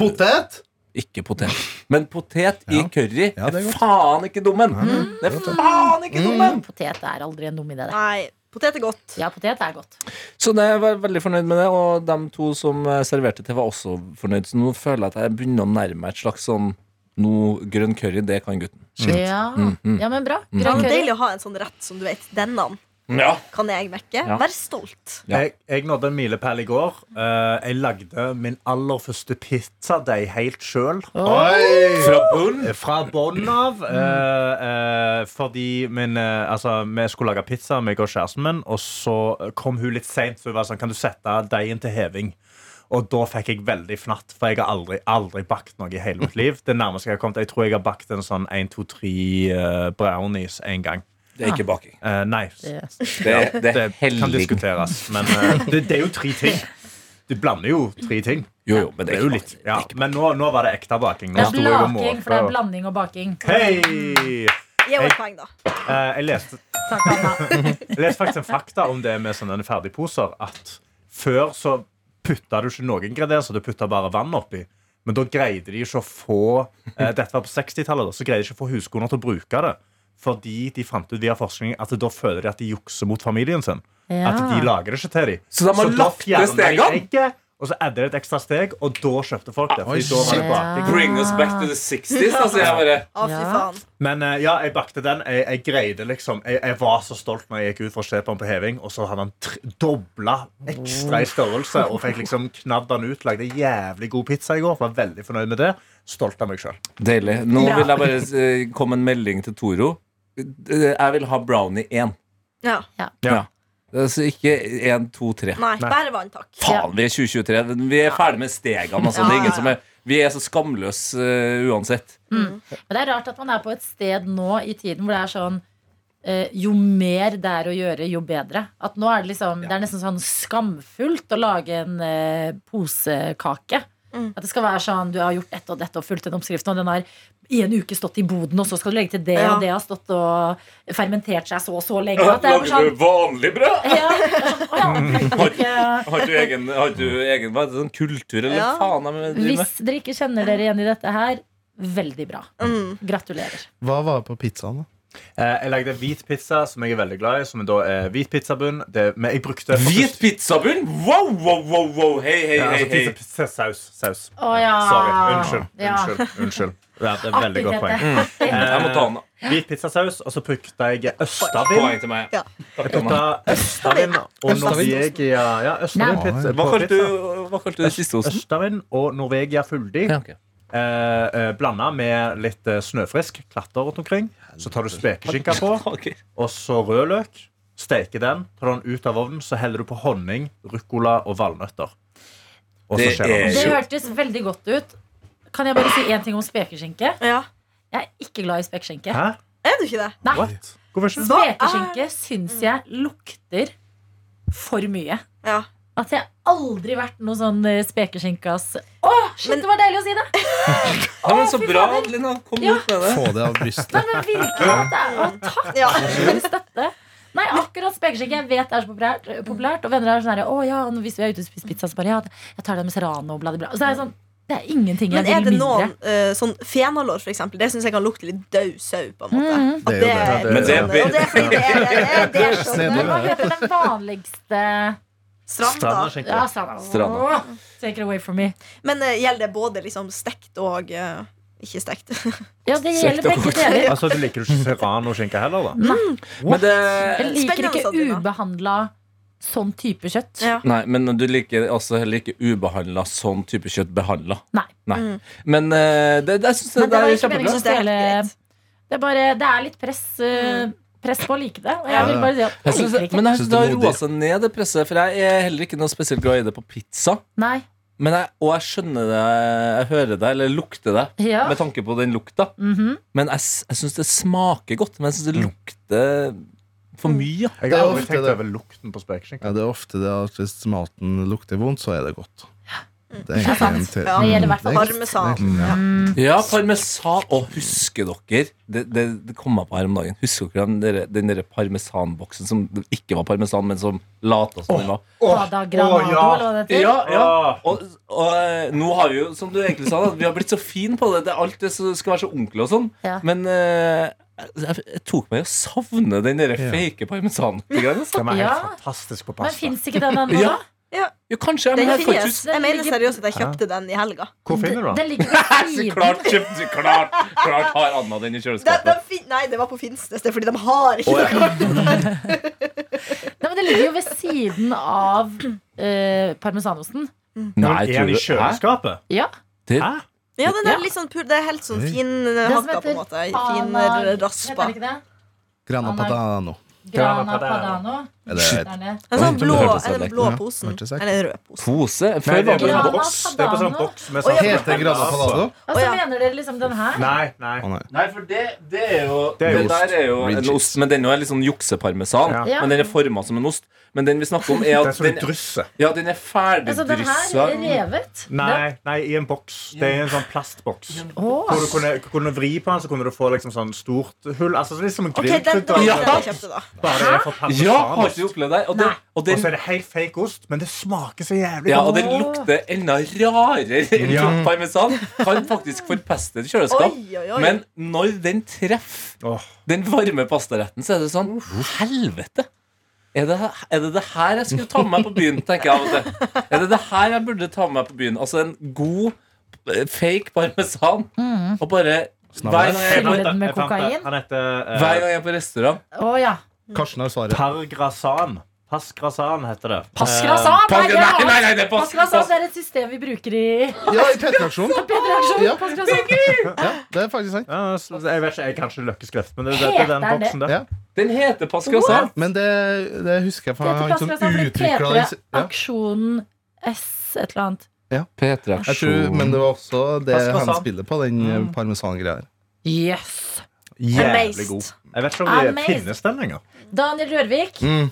[SPEAKER 5] Potet!
[SPEAKER 6] ikke potet. Men potet i
[SPEAKER 5] Ja.
[SPEAKER 6] curry
[SPEAKER 5] Ja, det
[SPEAKER 6] er,
[SPEAKER 5] er godt.
[SPEAKER 6] faen ikke dummen! Det er faen ikke
[SPEAKER 2] Mm.
[SPEAKER 6] dummen!
[SPEAKER 2] Potet er aldri en dum idé. det.
[SPEAKER 3] Nei, potet er godt.
[SPEAKER 2] Ja, potet er godt.
[SPEAKER 6] Så det, jeg var veldig fornøyd med det, og de to som eh, serverte til, var også fornøyd. Så nå føler jeg at jeg begynner å nærme meg et slags sånn noe grønn curry, det kan gutten.
[SPEAKER 2] Ja. ja, men bra.
[SPEAKER 3] Det
[SPEAKER 2] Grønn
[SPEAKER 3] er
[SPEAKER 2] curry.
[SPEAKER 3] deilig å ha en sånn rett som du vet. Denne
[SPEAKER 6] Ja.
[SPEAKER 3] kan jeg mekke.
[SPEAKER 6] Ja.
[SPEAKER 3] Vær stolt.
[SPEAKER 6] Ja.
[SPEAKER 4] Jeg, jeg nådde en milepæl i går. Eh, jeg lagde min aller første pizzadeig helt sjøl.
[SPEAKER 5] Oi!
[SPEAKER 6] Fra bunn?
[SPEAKER 4] Fra Mm. bånn av. eh, eh, fordi min, eh, altså, vi skulle lage pizza, meg og kjæresten min, og så kom hun litt seint. Så hun var sånn, kan du sette deigen til heving? Og da fikk jeg veldig fnatt, for jeg har aldri aldri bakt noe i hele mitt liv. Det nærmeste Jeg har kommet, jeg tror jeg har bakt en sånn 1-2-3 eh, brownies en gang.
[SPEAKER 6] Det er ikke baking.
[SPEAKER 4] Eh, nei,
[SPEAKER 2] Det-
[SPEAKER 6] Det, Ah. det er
[SPEAKER 4] det kan
[SPEAKER 6] helling.
[SPEAKER 4] diskuteres, men eh, det, det er jo tre ting. Du blander jo tre ting.
[SPEAKER 6] Jo, jo, men det er
[SPEAKER 4] jo
[SPEAKER 6] ikke
[SPEAKER 4] litt
[SPEAKER 6] baking.
[SPEAKER 4] ja. Men nå, nå var det ekte baking. Nå
[SPEAKER 2] Det er
[SPEAKER 4] sto jeg og
[SPEAKER 2] blaking, for det er
[SPEAKER 4] målte.
[SPEAKER 2] blanding og baking.
[SPEAKER 4] Hei!
[SPEAKER 3] Gi henne
[SPEAKER 4] Hei.
[SPEAKER 3] et poeng, da.
[SPEAKER 4] Eh, jeg, leste,
[SPEAKER 2] Takk, Anna.
[SPEAKER 4] jeg leste faktisk en fakta om det med sånne ferdigposer. At før så putta du ikke noen ingredienser, du putta bare vann oppi. Men da greide de ikke å få eh, Dette var på 60-tallet, da, så greide de ikke å få huskunder til å bruke det. Fordi de fant ut via forskning at da føler de at de jukser mot familien sin. At de
[SPEAKER 2] Ja.
[SPEAKER 4] lager det ikke til dem.
[SPEAKER 6] Så de har
[SPEAKER 4] da
[SPEAKER 6] lagt
[SPEAKER 4] fjerner
[SPEAKER 6] ned stegene?
[SPEAKER 4] de egget, Og så edder det et ekstra steg, og da kjøpte folk det.
[SPEAKER 5] Oi,
[SPEAKER 4] Fordi da var det
[SPEAKER 5] shit.
[SPEAKER 4] baking.
[SPEAKER 6] Bring us back to the 60s, altså. Jeg bare
[SPEAKER 3] Å, fy
[SPEAKER 2] Ja.
[SPEAKER 3] faen.
[SPEAKER 4] Men eh, ja, jeg bakte den. Jeg, jeg greide liksom jeg, jeg var så stolt når jeg gikk ut for å se på den på heving, og så hadde han tr- dobla ekstra i størrelse og fikk liksom knadd den ut. Lagde jævlig god pizza i går. Var veldig fornøyd med det. Stolt av meg sjøl.
[SPEAKER 6] Deilig. Nå vil jeg bare eh, komme en melding til Toro. Eh, Jeg vil ha brownie 1.
[SPEAKER 3] Ja.
[SPEAKER 6] Ja. Altså ikke 1, 2, 3.
[SPEAKER 3] Nei, bare vann, takk.
[SPEAKER 6] Faen, vi er 2023. Vi er ferdig med stegene. Altså. Det er ingen som er, vi er så skamløse eh, uansett.
[SPEAKER 3] Mm.
[SPEAKER 2] Mm. Men det er rart at man er på et sted nå i tiden hvor det er sånn eh, jo mer det er å gjøre, jo bedre. At nå er det liksom Det er nesten sånn skamfullt å lage en eh, posekake.
[SPEAKER 3] Mm.
[SPEAKER 2] At det skal være sånn Du har gjort dette og dette og fulgt den oppskriften, og den har i en uke stått i boden, og så skal du legge til det,
[SPEAKER 3] Ja.
[SPEAKER 2] og det har stått og fermentert seg så og så lenge. At det er bare sånn
[SPEAKER 6] vanlig brød?
[SPEAKER 2] ja, det er sånn, «Å
[SPEAKER 4] Mm.
[SPEAKER 2] ja, det er ikke-
[SPEAKER 6] Har du egen, har du egen hva, er det, sånn kultur, eller
[SPEAKER 3] Ja.
[SPEAKER 6] faen er det vi driver med?
[SPEAKER 2] Hvis dere ikke kjenner dere igjen i dette her, veldig bra.
[SPEAKER 3] Mm.
[SPEAKER 2] Gratulerer.
[SPEAKER 5] Hva var det på pizzaen, da?
[SPEAKER 4] Eh, Jeg lagde hvit pizza, som jeg er veldig glad i. Som da er hvit pizzabunn. Det, men jeg brukte
[SPEAKER 6] Hvit pizzabunn? Wow, wow, wow, wow. Hei, hei,
[SPEAKER 4] ja,
[SPEAKER 6] hei,
[SPEAKER 4] altså,
[SPEAKER 6] hei.
[SPEAKER 4] pizza, pizza, saus. saus.
[SPEAKER 2] Å, ja.
[SPEAKER 4] Sorry. Unnskyld.
[SPEAKER 2] Ja.
[SPEAKER 4] Unnskyld. unnskyld. Ja, det er et veldig godt
[SPEAKER 2] Artig,
[SPEAKER 4] poeng.
[SPEAKER 2] Tete. Artig.
[SPEAKER 6] Jeg må ta den. da.
[SPEAKER 4] Hvit pizzasaus, og så brukte jeg østavind.
[SPEAKER 6] Poeng til meg.
[SPEAKER 3] Ja.
[SPEAKER 6] Takk,
[SPEAKER 4] Jeg
[SPEAKER 6] Anna.
[SPEAKER 4] putta Østavind og Norvegia Ja,
[SPEAKER 2] Nei.
[SPEAKER 4] Østavind pizza
[SPEAKER 6] Hva
[SPEAKER 4] på pizza.
[SPEAKER 6] kalte du, hva kalte du siste osten?
[SPEAKER 4] Østavind og Norvegia fyldig.
[SPEAKER 6] Ja, ok.
[SPEAKER 4] Eh, eh, Blanda med litt eh, snøfrisk klatter rundt omkring. Så tar du spekeskinka på,
[SPEAKER 6] Ah, Ok.
[SPEAKER 4] og så rød løk. Steker den, tar den ut av ovnen, så heller du på honning, ruccola og valnøtter. Og så
[SPEAKER 6] Det
[SPEAKER 4] skjer det
[SPEAKER 6] er-
[SPEAKER 4] noe.
[SPEAKER 2] Det
[SPEAKER 6] Jo.
[SPEAKER 2] hørtes veldig godt ut. Kan jeg bare si én ting om spekeskinke?
[SPEAKER 3] Ja.
[SPEAKER 2] Jeg er ikke glad i spekeskinke.
[SPEAKER 4] Hæ?
[SPEAKER 3] Er du ikke det?
[SPEAKER 2] Nei.
[SPEAKER 4] What? Hvorfor ikke?
[SPEAKER 2] Spekeskinke syns jeg lukter for mye.
[SPEAKER 3] Ja.
[SPEAKER 2] At jeg aldri vært noe sånn eh, spekeskinkas Å, shit,
[SPEAKER 3] Men-
[SPEAKER 2] det var deilig å si det!
[SPEAKER 6] Ja, men så
[SPEAKER 2] fy
[SPEAKER 6] bra,
[SPEAKER 2] fader.
[SPEAKER 6] Lina. Kom
[SPEAKER 2] Ja.
[SPEAKER 6] ut med det.
[SPEAKER 5] Få det av brystet.
[SPEAKER 2] Nei, men virkelig at det er Å, takk
[SPEAKER 3] ja.
[SPEAKER 2] for støtte. Nei, akkurat spekeskinke jeg vet er så populært, eh, populært og venner er sånn her Å ja, hvis vi er ute og spiser pizza, så bare ja, jeg tar den med serrano og bladibla. Og så er jeg sånn Det er ingenting jeg
[SPEAKER 3] Men er
[SPEAKER 2] vil
[SPEAKER 3] det
[SPEAKER 2] mindre.
[SPEAKER 3] noen eh, sånn fenalår, for eksempel? Det syns jeg kan lukte litt død sau, på en måte.
[SPEAKER 2] Mhm.
[SPEAKER 3] At
[SPEAKER 5] Det er jo det.
[SPEAKER 6] Men det er
[SPEAKER 3] Og det er fordi det er, det er, det er sånn.
[SPEAKER 5] Snedig.
[SPEAKER 2] Men hva heter den vanligste
[SPEAKER 3] Strand,
[SPEAKER 4] Stranda
[SPEAKER 3] da.
[SPEAKER 4] skjenker.
[SPEAKER 2] Ja, stranda.
[SPEAKER 6] Stranda.
[SPEAKER 2] Åh, Take it away from me.
[SPEAKER 3] Men eh, gjelder det både liksom stekt og eh, ikke stekt?
[SPEAKER 2] Ja, det
[SPEAKER 6] Søkt
[SPEAKER 2] gjelder begge
[SPEAKER 6] ord.
[SPEAKER 2] deler.
[SPEAKER 4] Altså, du liker jo ikke serranoskinke heller, da?
[SPEAKER 6] Men det,
[SPEAKER 2] Jeg liker
[SPEAKER 3] Spennende,
[SPEAKER 2] ikke
[SPEAKER 3] Sabrina.
[SPEAKER 2] ubehandla sånn type kjøtt.
[SPEAKER 3] Ja.
[SPEAKER 6] Nei, men du liker altså heller ikke ubehandla sånn type kjøtt behandla.
[SPEAKER 2] Nei. Mm.
[SPEAKER 6] Men eh, det, det, jeg synes det,
[SPEAKER 2] Men det
[SPEAKER 6] det
[SPEAKER 2] var
[SPEAKER 6] er
[SPEAKER 2] ikke meningen
[SPEAKER 6] kjempebra.
[SPEAKER 2] å
[SPEAKER 3] Så det er helt
[SPEAKER 2] stjele-
[SPEAKER 3] greit.
[SPEAKER 2] Det er, bare, det er litt press, eh,
[SPEAKER 3] Mm.
[SPEAKER 2] press på å like det. Og jeg vil bare si at
[SPEAKER 6] Jeg
[SPEAKER 2] jeg
[SPEAKER 6] synes,
[SPEAKER 2] liker det ikke.
[SPEAKER 6] men jeg synes det har
[SPEAKER 5] Synes det er
[SPEAKER 6] roa seg ned, det presset. For jeg er heller ikke noe spesielt glad i det på pizza.
[SPEAKER 2] Nei.
[SPEAKER 6] Men jeg, og jeg skjønner det, jeg hører det, eller lukter det,
[SPEAKER 2] Ja.
[SPEAKER 6] med tanke på den lukta.
[SPEAKER 2] Mhm.
[SPEAKER 6] Men jeg, s- jeg syns det smaker godt, men jeg syns det lukter for
[SPEAKER 2] Mm.
[SPEAKER 6] mye.
[SPEAKER 4] Jeg
[SPEAKER 5] Det er
[SPEAKER 4] har aldri
[SPEAKER 5] ofte
[SPEAKER 4] tenkt
[SPEAKER 5] det.
[SPEAKER 4] over lukten på spekeskinke.
[SPEAKER 5] Ja, det er ofte det at hvis maten lukter vondt, så er det godt. Det
[SPEAKER 2] Det
[SPEAKER 5] er
[SPEAKER 2] er sant.
[SPEAKER 5] egentlig en te-
[SPEAKER 3] Ja,
[SPEAKER 5] Mm,
[SPEAKER 2] det gjelder i hvert fall
[SPEAKER 5] er-
[SPEAKER 3] parmesan.
[SPEAKER 5] det er- Mm, ja.
[SPEAKER 2] Mm.
[SPEAKER 6] Ja, parmesan. Å, husker dere Det, det, det kom jeg på her om dagen. Husker dere den der, den der parmesanboksen som ikke var parmesan, men som lata som den var?
[SPEAKER 2] Pada Granado, eller hva det heter.
[SPEAKER 6] Ja, ja.
[SPEAKER 4] Åh.
[SPEAKER 6] Og, og eh, nå har vi jo, som du egentlig sa, da, vi har blitt så fin på det. det er alt det som skal være så ordentlig og sånn.
[SPEAKER 2] Ja.
[SPEAKER 6] Men eh, jeg, jeg tok meg i å savne den derre
[SPEAKER 4] Ja.
[SPEAKER 6] fake parmesanen. litt grann, altså.
[SPEAKER 4] Den er
[SPEAKER 2] Ja.
[SPEAKER 4] helt fantastisk på
[SPEAKER 2] Men
[SPEAKER 4] pasta.
[SPEAKER 2] fins ikke den ennå,
[SPEAKER 6] Ja.
[SPEAKER 2] da?
[SPEAKER 6] Jo, kanskje. Jeg,
[SPEAKER 3] Den
[SPEAKER 6] men jeg får ikke
[SPEAKER 3] finnes.
[SPEAKER 6] huske-
[SPEAKER 3] Jeg mener seriøst at jeg kjøpte den i helga.
[SPEAKER 4] Hvor finner du den?
[SPEAKER 2] Den ligger ved
[SPEAKER 6] Så
[SPEAKER 2] siden.
[SPEAKER 6] klart, kjøpt, klart, klart har Anna den i
[SPEAKER 3] Den,
[SPEAKER 6] kjøleskapet.
[SPEAKER 3] den fin nei, det var på Finnsnes. Det er fordi de har ikke
[SPEAKER 6] Å,
[SPEAKER 3] noe.
[SPEAKER 2] Nei, men den ligger jo ved siden av eh, parmesanosten.
[SPEAKER 6] Nei,
[SPEAKER 4] Er den i
[SPEAKER 6] tror du- Hæ?
[SPEAKER 4] kjøleskapet?
[SPEAKER 2] Ja.
[SPEAKER 6] Det-
[SPEAKER 4] Hæ?
[SPEAKER 3] Ja, den er
[SPEAKER 2] Ja.
[SPEAKER 3] litt sånn pur, det er helt sånn
[SPEAKER 5] Oi.
[SPEAKER 3] fin
[SPEAKER 2] som
[SPEAKER 3] hakka, på en
[SPEAKER 2] heter
[SPEAKER 3] måte. Fin
[SPEAKER 2] Pana-
[SPEAKER 3] eh,
[SPEAKER 2] Heter
[SPEAKER 3] raspa.
[SPEAKER 2] den ikke det?
[SPEAKER 5] Grana
[SPEAKER 2] Anna-
[SPEAKER 5] padano.
[SPEAKER 2] Grana
[SPEAKER 4] Grana Padano.
[SPEAKER 2] Padano.
[SPEAKER 5] Er det-
[SPEAKER 2] Der nede.
[SPEAKER 3] En sånn
[SPEAKER 6] Oi,
[SPEAKER 3] blå,
[SPEAKER 6] det hørtes
[SPEAKER 3] en
[SPEAKER 6] veldig-
[SPEAKER 3] blå
[SPEAKER 5] Ja,
[SPEAKER 3] posen.
[SPEAKER 5] hørtes ekkelt.
[SPEAKER 3] Eller en rød pose.
[SPEAKER 6] Pose?
[SPEAKER 4] Nei,
[SPEAKER 6] Før
[SPEAKER 4] det er på
[SPEAKER 6] var det
[SPEAKER 4] sånn
[SPEAKER 2] Grana
[SPEAKER 4] boks. Det er på sånn
[SPEAKER 2] Padano.
[SPEAKER 4] boks med
[SPEAKER 3] Å, ja.
[SPEAKER 4] sånn
[SPEAKER 5] Heter Grana padano?
[SPEAKER 2] Altså,
[SPEAKER 3] Å, ja.
[SPEAKER 2] Mener dere liksom den her?
[SPEAKER 4] Nei, nei.
[SPEAKER 5] Å nei.
[SPEAKER 6] Nei, for det, det er jo
[SPEAKER 4] Det
[SPEAKER 6] Det,
[SPEAKER 4] er jo ost.
[SPEAKER 6] der er jo
[SPEAKER 5] Real
[SPEAKER 6] en
[SPEAKER 5] cheese.
[SPEAKER 6] ost, men den er jo litt sånn jukseparmesan.
[SPEAKER 4] Ja.
[SPEAKER 2] Ja.
[SPEAKER 6] Men den er forma som en ost. Men den vi snakker om, er
[SPEAKER 4] Det er
[SPEAKER 6] at
[SPEAKER 4] som du
[SPEAKER 6] den,
[SPEAKER 4] drysser.
[SPEAKER 6] ja, den er
[SPEAKER 2] Altså, den her
[SPEAKER 6] ferdigdryssa.
[SPEAKER 2] er revet. Den-
[SPEAKER 4] Nei, nei, i en boks. Det er en sånn plastboks.
[SPEAKER 2] Åh.
[SPEAKER 4] Hvor du kunne, kunne du vri på den, så kunne du få liksom sånn stort hull. Altså Litt som en
[SPEAKER 3] Ok, den, den,
[SPEAKER 4] grillkrydder.
[SPEAKER 3] var
[SPEAKER 6] Ja.
[SPEAKER 3] ikke den jeg kjøpte, da.
[SPEAKER 4] Bare det er for
[SPEAKER 6] Ja, har ikke
[SPEAKER 4] parmesanost.
[SPEAKER 6] du opplevd det? Og, det,
[SPEAKER 2] Nei.
[SPEAKER 6] og,
[SPEAKER 4] Og så
[SPEAKER 6] den,
[SPEAKER 4] er det helt fake ost, men det smaker så jævlig
[SPEAKER 6] ja,
[SPEAKER 4] godt.
[SPEAKER 6] og den lukter enda rarere enn
[SPEAKER 4] Ja.
[SPEAKER 6] parmesan. Kan faktisk forpeste et kjøleskap.
[SPEAKER 3] Oi, oi, oi.
[SPEAKER 6] Men når den treffer
[SPEAKER 4] Åh,
[SPEAKER 6] den varme pastaretten, så er det sånn Helvete! Er det, er det det her jeg skulle ta med meg på byen? tenker jeg av og til. Er det det her jeg burde ta med meg på byen? Altså en god, eh, fake parmesan. Og bare hver gang, jeg
[SPEAKER 5] Snabel.
[SPEAKER 6] er på,
[SPEAKER 2] Fylle den med
[SPEAKER 4] jeg fant det.
[SPEAKER 2] kokain?
[SPEAKER 4] Han heter
[SPEAKER 6] hver
[SPEAKER 4] eh,
[SPEAKER 6] gang jeg er på restaurant
[SPEAKER 2] Å ja.
[SPEAKER 5] Karsten har svaret.
[SPEAKER 4] Pargrasan. Pasgrasan heter det.
[SPEAKER 2] Passgrasan!
[SPEAKER 6] Pass-
[SPEAKER 2] ja.
[SPEAKER 6] Eh, nei, nei, nei, det er pass-
[SPEAKER 2] Passgrasan
[SPEAKER 6] pass-
[SPEAKER 2] det er et system vi bruker i
[SPEAKER 5] Ja, i P3-aksjonen.
[SPEAKER 2] P3-aksjonen.
[SPEAKER 5] Ja.
[SPEAKER 2] Passgrasan.
[SPEAKER 5] Ja, det er faktisk sant.
[SPEAKER 4] Eh, ja, så- jeg vet ikke, jeg kan ikke løkkeskrift, men det, det, det er den
[SPEAKER 2] Heter det?
[SPEAKER 4] boksen der.
[SPEAKER 5] Ja.
[SPEAKER 6] Den heter pascrasan.
[SPEAKER 5] Men det, det husker jeg fra
[SPEAKER 2] Det
[SPEAKER 5] han
[SPEAKER 2] heter
[SPEAKER 5] som
[SPEAKER 2] Passgrasan fordi
[SPEAKER 5] utvikla den ja.
[SPEAKER 2] P3-aksjonen S et eller annet.
[SPEAKER 5] Jeg tror, Men det var også det
[SPEAKER 4] Parmesan.
[SPEAKER 5] han spiller på, den eh, parmesangreia der.
[SPEAKER 2] Yes.
[SPEAKER 4] Jævlig
[SPEAKER 3] Amazed.
[SPEAKER 4] god. Jeg vet ikke om det
[SPEAKER 2] Amazed.
[SPEAKER 4] finnes den lenger.
[SPEAKER 2] Daniel Rørvik,
[SPEAKER 5] Mm.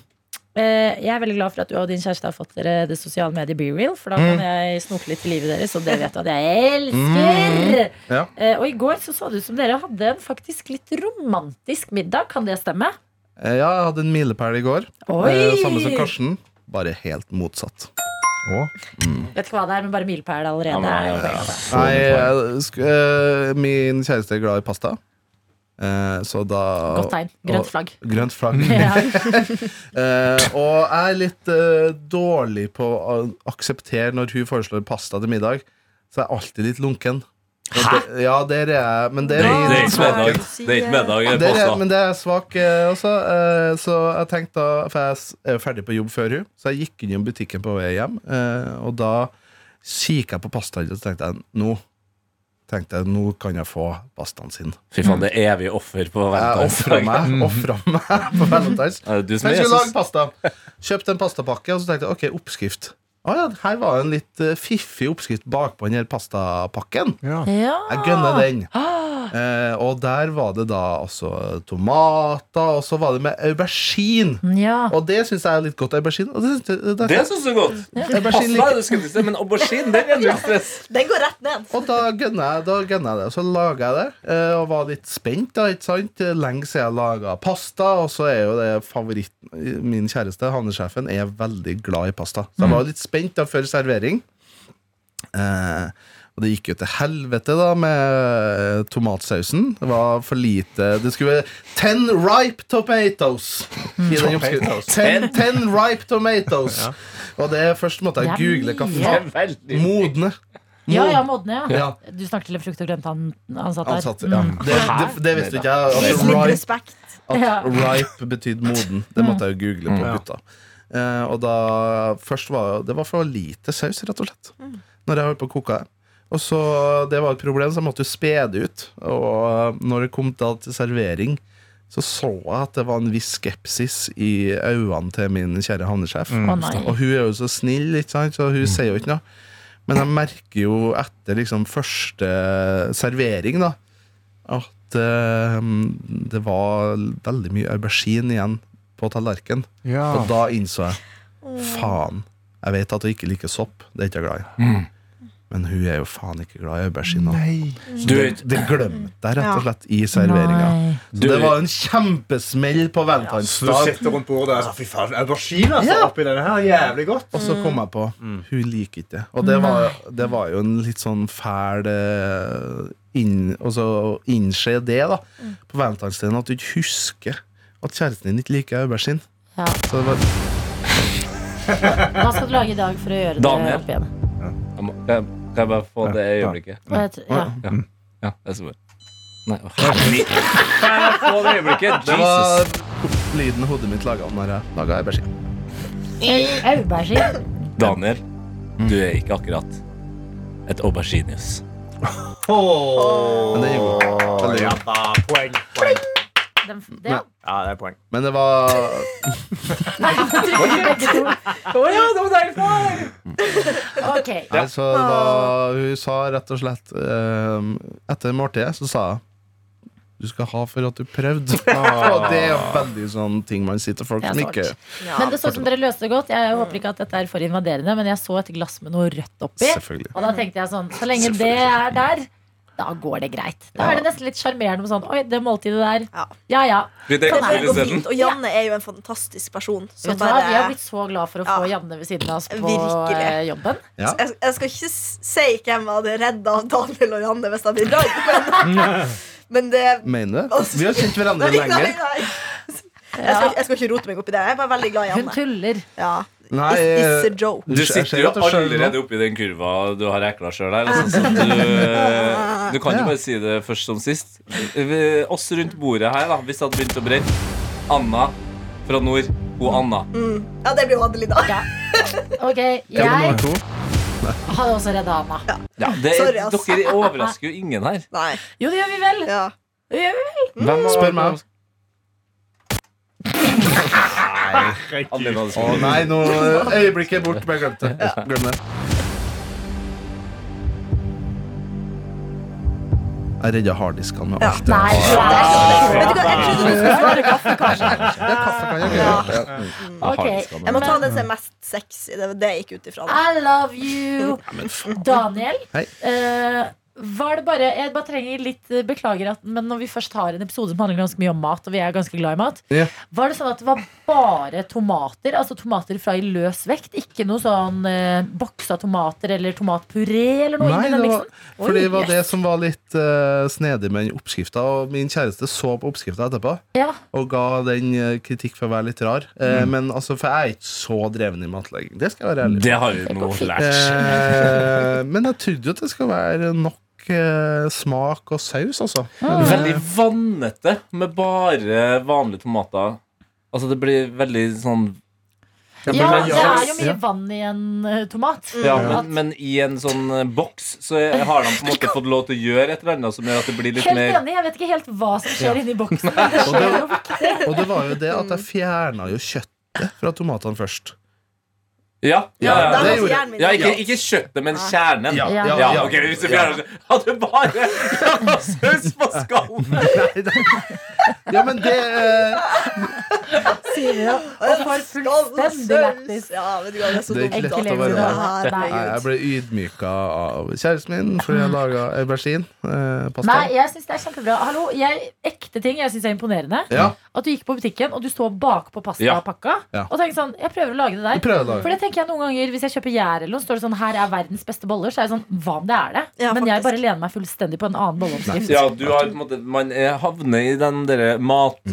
[SPEAKER 2] eh, jeg er veldig glad for at du og din kjæreste har fått dere det sosiale mediet BeReal, for da kan
[SPEAKER 5] Mm.
[SPEAKER 2] jeg snoke litt i livet deres, og det vet du at jeg elsker.
[SPEAKER 5] Mm. Ja.
[SPEAKER 2] Eh, og i går så så det ut som dere hadde en faktisk litt romantisk middag, kan det stemme?
[SPEAKER 5] Eh, Ja, jeg hadde en milepæl i går.
[SPEAKER 2] Oi!
[SPEAKER 5] Eh, Samme som Karsten, bare helt motsatt.
[SPEAKER 2] Vet ikke hva det er, men bare milepæl allerede.
[SPEAKER 6] Ja, men,
[SPEAKER 2] er jo
[SPEAKER 6] ja, ja.
[SPEAKER 2] veldig bra.
[SPEAKER 5] Nei, jeg sk- eh, min kjæreste er glad i pasta. Eh, så da
[SPEAKER 2] Godt tegn. Grønt flagg.
[SPEAKER 5] Grønt flagg.
[SPEAKER 2] Ja.
[SPEAKER 5] Eh, og jeg er litt eh, dårlig på å akseptere når hun foreslår pasta til middag. Så jeg er alltid litt lunken. Og Det, ja, der er jeg. Men der
[SPEAKER 6] Det
[SPEAKER 5] er
[SPEAKER 6] er det er
[SPEAKER 5] jeg
[SPEAKER 6] ikke
[SPEAKER 5] svak.
[SPEAKER 6] middag. Det er ikke middag. det er
[SPEAKER 5] Der er,
[SPEAKER 6] pasta.
[SPEAKER 5] men det er jeg svak eh, også. Eh, så jeg tenkte da For jeg s- er jo ferdig på jobb før hun, så jeg gikk innom butikken på vei hjem. eh, og da kikket jeg på pastahandelen, så tenkte jeg nå Tenkte jeg, Nå kan jeg få pastaen sin.
[SPEAKER 6] Fy faen, det er evig offer på
[SPEAKER 5] Jeg ofra
[SPEAKER 6] valentinsdag.
[SPEAKER 5] meg, offra meg på Valentine's.
[SPEAKER 6] Er det du som
[SPEAKER 5] Jeg
[SPEAKER 6] er
[SPEAKER 5] skulle lage
[SPEAKER 6] Jesus?
[SPEAKER 5] pasta. Kjøpte en pastapakke, og så tenkte jeg ok, oppskrift. Å ja, her var en litt eh, fiffig oppskrift bakpå den her pastapakken.
[SPEAKER 2] ja.
[SPEAKER 5] Jeg gønner den. Eh, og der var det da altså tomater, og så var det med aubergine.
[SPEAKER 2] ja.
[SPEAKER 5] Og det syns jeg er litt godt. Aubergine. Og det, synes jeg- det,
[SPEAKER 6] Det syns du godt. Pasta
[SPEAKER 5] aubergine
[SPEAKER 6] er
[SPEAKER 5] liker.
[SPEAKER 6] det skumleste, men aubergine den er null stress.
[SPEAKER 3] Den går rett ned.
[SPEAKER 5] Og da gønner jeg, da gønner jeg det. Og så laga jeg det, eh, og var litt spent. da, ikke sant? Lenge siden jeg laga pasta, og så er jo det favoritten Min kjæreste, havnesjefen, er veldig glad i pasta. Så jeg var litt spent da før servering. Eh, og det gikk jo til helvete da med eh, tomatsausen. Det var for lite Det skulle være ten ripe tomatoes.
[SPEAKER 2] Mm.
[SPEAKER 5] I den oppskriften. Ten, ten ripe tomatoes. Og det først måtte
[SPEAKER 2] Det er
[SPEAKER 5] jeg google hva
[SPEAKER 2] mye.
[SPEAKER 5] faen
[SPEAKER 6] Veldig
[SPEAKER 5] Modne.
[SPEAKER 2] ja, ja, modne, ja.
[SPEAKER 5] Ja.
[SPEAKER 2] Du snakket til en frukt og grønt han, han satt der.
[SPEAKER 5] Ansatte, ja.
[SPEAKER 2] Mm.
[SPEAKER 5] Det, det, det visste ikke jeg. At
[SPEAKER 3] Vis litt
[SPEAKER 5] ripe,
[SPEAKER 3] respekt.
[SPEAKER 2] Ja.
[SPEAKER 5] at ripe betydde moden. Det måtte jeg jo google på gutta. Eh, og da først var Det var for lite saus, rett og slett. Når jeg holdt på å koke det. Og så, Det var et problem, så jeg måtte jo spede ut. Og eh, når det kom da til servering, så så jeg at det var en viss skepsis i øynene til min kjære havnesjef.
[SPEAKER 2] Å nei.
[SPEAKER 5] Og hun er jo så snill, ikke sant? så hun sier jo ikke noe. Men jeg merker jo etter liksom første servering da, at eh, det var veldig mye aubergine igjen på tallerkenen. Og da innså jeg faen, jeg vet at hun ikke liker sopp. Det er ikke jeg glad i. Men hun er jo faen ikke glad i aubergine. da.
[SPEAKER 6] Du, vet-
[SPEAKER 5] Det glemte jeg rett
[SPEAKER 3] Ja.
[SPEAKER 5] og slett i serveringa.
[SPEAKER 2] Nei.
[SPEAKER 5] Så det var en kjempesmell på valentinsdag.
[SPEAKER 4] rundt bordet og sier fy faen, aubergine altså,
[SPEAKER 5] Ja.
[SPEAKER 4] oppi denne her. Jævlig godt.
[SPEAKER 5] Og så kom jeg på hun liker ikke det. Og det var, det var jo en litt sånn fæl eh, inn, altså, Å innse det da på valentinsdagen, at du ikke husker at kjæresten din ikke liker aubergine.
[SPEAKER 2] Ja.
[SPEAKER 5] Så det var,
[SPEAKER 2] Hva skal du lage i dag for å gjøre det
[SPEAKER 6] Daniel.
[SPEAKER 2] opp igjen?
[SPEAKER 6] jeg må- jeg- Kan jeg bare få det øyeblikket?
[SPEAKER 2] Og jeg tr- Ja.
[SPEAKER 6] Ja, jeg skal bare Nei, å, herlig. Kan jeg få det øyeblikket?
[SPEAKER 5] det
[SPEAKER 6] Jesus.
[SPEAKER 5] var lyden hodet mitt laga når jeg laga aubergine.
[SPEAKER 2] Aubergine.
[SPEAKER 6] Daniel, du
[SPEAKER 5] Mm.
[SPEAKER 6] er ikke akkurat et auberginius.
[SPEAKER 5] Men det er jo veldig
[SPEAKER 4] Ja,
[SPEAKER 5] godt.
[SPEAKER 4] da, poeng, poeng.
[SPEAKER 2] Den, det, ja.
[SPEAKER 4] Ja, det er poeng.
[SPEAKER 5] Men det var
[SPEAKER 2] Ok.
[SPEAKER 5] Nei, så det var, Hun sa rett og slett eh, Etter måltidet så sa jeg du skal ha for at du prøvde. Og det er jo veldig sånn ting man sier til folk
[SPEAKER 2] Det er
[SPEAKER 5] som
[SPEAKER 2] svart.
[SPEAKER 5] ikke
[SPEAKER 2] Men det så ut som dere løste det godt. Jeg håper ikke at dette er for invaderende, men jeg så et glass med noe rødt oppi.
[SPEAKER 5] Selvfølgelig.
[SPEAKER 2] Og da tenkte jeg sånn, så lenge det er der, da går det greit. Da er det nesten litt sjarmerende med sånn Oi, det måltidet der.
[SPEAKER 3] Ja.
[SPEAKER 2] Ja ja.
[SPEAKER 6] Vi
[SPEAKER 3] Det
[SPEAKER 6] drikker
[SPEAKER 2] Kan jeg
[SPEAKER 6] øl
[SPEAKER 3] går
[SPEAKER 6] isteden.
[SPEAKER 3] fint. Og Janne er jo en fantastisk person. Så
[SPEAKER 2] Vet du hva? Vi har
[SPEAKER 3] bare,
[SPEAKER 2] blitt så glad for å få
[SPEAKER 3] Ja.
[SPEAKER 2] Janne ved siden av oss på
[SPEAKER 3] Virkelig.
[SPEAKER 2] eh, jobben.
[SPEAKER 5] Ja.
[SPEAKER 3] jeg, jeg skal ikke s- si hvem jeg hadde redda av Daniel og Janne hvis jeg blir dratt, men, men det
[SPEAKER 5] Mener du? Vi har kjent hverandre
[SPEAKER 3] Nei, nei,
[SPEAKER 5] lenger.
[SPEAKER 3] nei. Jeg skal, jeg skal ikke rote meg opp i det. Jeg er bare veldig glad i
[SPEAKER 2] Hun
[SPEAKER 3] Janne.
[SPEAKER 2] tuller.
[SPEAKER 3] Ja.
[SPEAKER 5] Nei,
[SPEAKER 3] It's, it's a
[SPEAKER 5] eh,
[SPEAKER 3] joke.
[SPEAKER 6] Du
[SPEAKER 5] jeg ser
[SPEAKER 6] sitter jo
[SPEAKER 5] at jeg skjønner
[SPEAKER 6] allerede
[SPEAKER 5] nå.
[SPEAKER 6] oppi den kurva du har ekla sjøl der. Altså, så eh, du, du kan jo
[SPEAKER 5] Ja.
[SPEAKER 6] bare si det først som sist. Vi- Oss rundt bordet her, da, hvis det hadde begynt å brenne. Anna fra nord. Hun Anna.
[SPEAKER 3] Ja, det blir jo Adeline. da.
[SPEAKER 2] Ok,
[SPEAKER 5] Det var
[SPEAKER 2] jeg
[SPEAKER 5] nummer to.
[SPEAKER 2] hadde også redda Anna.
[SPEAKER 6] Ja, det,
[SPEAKER 3] Sorry, ass.
[SPEAKER 6] dere overrasker jo ingen her.
[SPEAKER 3] Nei.
[SPEAKER 2] Jo, det gjør vi vel.
[SPEAKER 3] Ja.
[SPEAKER 2] Det gjør vi vel.
[SPEAKER 5] Spør meg.
[SPEAKER 6] Adeline hadde
[SPEAKER 5] Å
[SPEAKER 6] skrevet.
[SPEAKER 5] nei, nå eh, øyeblikket er bort. Bare glem det. Glem det. Jeg redda harddiskene med
[SPEAKER 3] Ja.
[SPEAKER 5] alt.
[SPEAKER 2] Nei, du er
[SPEAKER 3] Vet du hva, jeg trodde du skulle svare kaffe, kanskje.
[SPEAKER 5] Det er kaffe, kan jeg gjøre. Ja.
[SPEAKER 2] Ok.
[SPEAKER 3] Jeg må ta den som er mest sexy. Det var det jeg gikk ut ifra. da.
[SPEAKER 2] I love you, Daniel.
[SPEAKER 5] Hei.
[SPEAKER 2] Eh, var det bare, jeg bare trenger litt eh, beklager at, Men når vi først har en episode som handler ganske mye om mat, og vi er ganske glad i mat,
[SPEAKER 5] Ja.
[SPEAKER 2] var det sånn at det var bare tomater? Altså tomater fra i løs vekt? Ikke noe sånn eh, boksa tomater eller tomatpuré eller noe
[SPEAKER 5] Nei,
[SPEAKER 2] inni den
[SPEAKER 5] det var,
[SPEAKER 2] miksen? Oi,
[SPEAKER 5] for det var
[SPEAKER 2] yes.
[SPEAKER 5] det som var litt eh, snedig med den oppskrifta. Og min kjæreste så på oppskrifta etterpå
[SPEAKER 2] Ja.
[SPEAKER 5] og ga den eh, kritikk for å være litt rar.
[SPEAKER 6] Mm.
[SPEAKER 5] Eh, Men altså, For jeg er ikke så dreven i matlaging. Det skal jeg være ærlig på.
[SPEAKER 6] Det har vi nå lært.
[SPEAKER 5] Eh, men jeg trodde jo at det skal være nok eh, smak og saus, altså. Men,
[SPEAKER 2] Ah.
[SPEAKER 6] Veldig vannete med bare vanlige tomater. Altså, det blir veldig sånn
[SPEAKER 2] ja,
[SPEAKER 6] men-
[SPEAKER 2] det er jo mye vann i en eh, tomat.
[SPEAKER 6] Ja,
[SPEAKER 2] At-
[SPEAKER 6] men, men i en sånn eh, boks så er- har de på en måte fått lov til å gjøre et eller annet som gjør at det blir litt
[SPEAKER 2] Helt
[SPEAKER 6] mer
[SPEAKER 2] enig, Jeg vet ikke helt hva som skjer inni boksen. Men det skjer jo ikke.
[SPEAKER 5] eh, og det var jo det at jeg fjerna jo kjøttet fra tomatene først.
[SPEAKER 6] Ja, ja,
[SPEAKER 3] Da
[SPEAKER 5] Ja,
[SPEAKER 6] ja.
[SPEAKER 5] det
[SPEAKER 3] måtte
[SPEAKER 5] gjorde-
[SPEAKER 3] hjernen min-
[SPEAKER 6] ja ikke, ikke kjøttet, men kjernen.
[SPEAKER 5] Ja,
[SPEAKER 2] Ja.
[SPEAKER 5] ja,
[SPEAKER 6] Ja,
[SPEAKER 5] ja.
[SPEAKER 6] ok, hvis du fjerner Hadde bare jævla saus på skallen!
[SPEAKER 5] Nei, det- ja, men det eh,
[SPEAKER 2] Sier vi, da. Og får fullstendig lættis.
[SPEAKER 3] Ja, vet du hva, det er så
[SPEAKER 5] Det er
[SPEAKER 3] dumt.
[SPEAKER 5] ikke lett
[SPEAKER 3] da.
[SPEAKER 5] å være
[SPEAKER 2] med.
[SPEAKER 5] Nei, jeg
[SPEAKER 3] Herregud.
[SPEAKER 5] ble ydmyka av kjæresten min fordi jeg laga aubergine. Eh,
[SPEAKER 2] Nei,
[SPEAKER 5] pasta.
[SPEAKER 2] jeg synes det er kjempebra. Hallo, jeg, ekte ting jeg syns er imponerende.
[SPEAKER 5] Ja,
[SPEAKER 2] At du gikk på butikken og du så bakpå pastapakka
[SPEAKER 5] Ja.
[SPEAKER 2] og tenkte sånn Jeg prøver å lage det
[SPEAKER 5] vi
[SPEAKER 2] der.
[SPEAKER 5] prøver å lage
[SPEAKER 2] For det tenker jeg noen ganger Hvis jeg kjøper gjær eller noe, står det sånn Her er verdens beste boller. Så er jeg sånn Hva om det er det?
[SPEAKER 3] Ja,
[SPEAKER 2] Men jeg
[SPEAKER 3] faktisk.
[SPEAKER 2] bare lener meg fullstendig på en annen bolleoppskrift.
[SPEAKER 6] Ja, du har på en måte Man eh, havner i den derre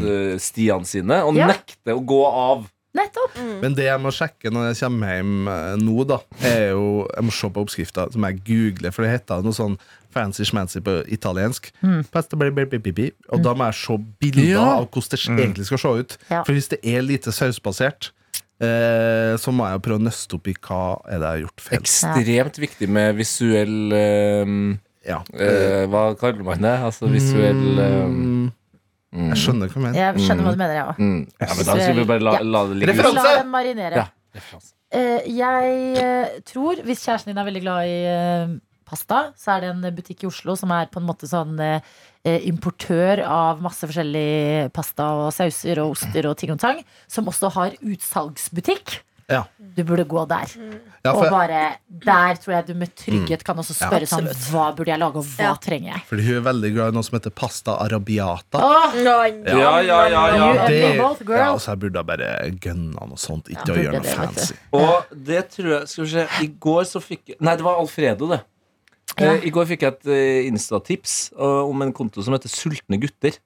[SPEAKER 6] matstiene sine og
[SPEAKER 2] Ja.
[SPEAKER 6] nekter å gå av.
[SPEAKER 2] Nettopp.
[SPEAKER 5] Men det jeg må sjekke når jeg kommer hjem eh, nå, da er jo Jeg må se på oppskrifta, som jeg googler, for det heter noe sånn fancy-schmancy på italiensk.
[SPEAKER 2] Mm.
[SPEAKER 5] Pasta bli- bli- bli- bli- bli. Og da må jeg se bilder
[SPEAKER 6] Ja.
[SPEAKER 5] av hvordan det egentlig skal se ut.
[SPEAKER 2] Ja.
[SPEAKER 5] For hvis det er lite sausbasert, eh, så må jeg jo prøve å nøste opp i hva er det jeg har gjort feil.
[SPEAKER 6] Ekstremt viktig med visuell eh,
[SPEAKER 5] Ja.
[SPEAKER 6] eh, Hva kaller man det? Altså visuell eh,
[SPEAKER 5] Mm, jeg skjønner hva du mener.
[SPEAKER 2] Jeg skjønner hva du mener, jeg òg.
[SPEAKER 6] mm. Ja, men da skal vi bare la,
[SPEAKER 2] Ja.
[SPEAKER 6] la det ligge
[SPEAKER 5] Referanse!
[SPEAKER 2] La den marinere.
[SPEAKER 6] Ja.
[SPEAKER 2] eh, jeg eh, tror, hvis kjæresten din er veldig glad i eh, pasta, så er det en butikk i Oslo som er på en måte sånn eh, eh, importør av masse forskjellig pasta og sauser og oster og ting og tang, som også har utsalgsbutikk.
[SPEAKER 5] Ja.
[SPEAKER 2] Du burde gå der.
[SPEAKER 5] Ja,
[SPEAKER 2] og
[SPEAKER 5] for,
[SPEAKER 2] bare der tror jeg du med
[SPEAKER 6] Mm.
[SPEAKER 2] trygghet kan også spørre sånn Hva burde jeg lage, og hva
[SPEAKER 3] Ja.
[SPEAKER 2] trenger jeg?
[SPEAKER 5] fordi hun er veldig glad i noe som heter pasta arabiata.
[SPEAKER 2] Åh,
[SPEAKER 6] Ja, ja, ja, ja.
[SPEAKER 2] You and me both, girl.
[SPEAKER 5] ja, altså, jeg burde ha bare gønna noe sånt, ikke
[SPEAKER 2] Ja,
[SPEAKER 5] å
[SPEAKER 2] burde
[SPEAKER 5] gjøre noe
[SPEAKER 2] det, vet du.
[SPEAKER 5] fancy.
[SPEAKER 6] Og det tror jeg Skal vi se, i går så fikk jeg Nei, det var Alfredo, det.
[SPEAKER 2] Ja.
[SPEAKER 6] Eh, I går fikk jeg et eh, Insta-tips eh, om en konto som heter Sultne gutter.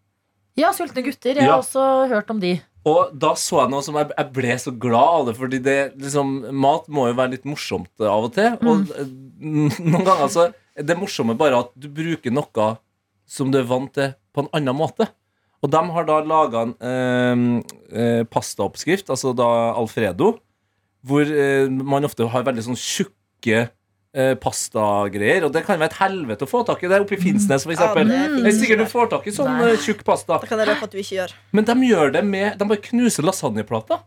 [SPEAKER 2] ja, sultne gutter. Jeg
[SPEAKER 6] Ja.
[SPEAKER 2] har også hørt om de.
[SPEAKER 6] Og da så jeg noe som jeg, jeg ble så glad av det, fordi det, liksom, mat må jo være litt morsomt av og til. Og eh, noen ganger så er det morsomme bare at du bruker noe som du er vant til, på en annen måte. Og de har da laga en eh, eh, pastaoppskrift, altså da Alfredo, hvor eh, man ofte har veldig sånn tjukke eh, pastagreier. Og det kan være et helvete å få tak i. Det er oppe i Finnsnes, for
[SPEAKER 3] Mm. Ja, det
[SPEAKER 6] eksempel. det
[SPEAKER 3] finnes
[SPEAKER 6] er
[SPEAKER 3] ikke.
[SPEAKER 6] sikkert du får tak i sånn
[SPEAKER 2] Nei.
[SPEAKER 6] eh, tjukk pasta.
[SPEAKER 3] Da kan jeg røpe at du ikke gjør.
[SPEAKER 6] Men de gjør det med De bare knuser lasagneplata.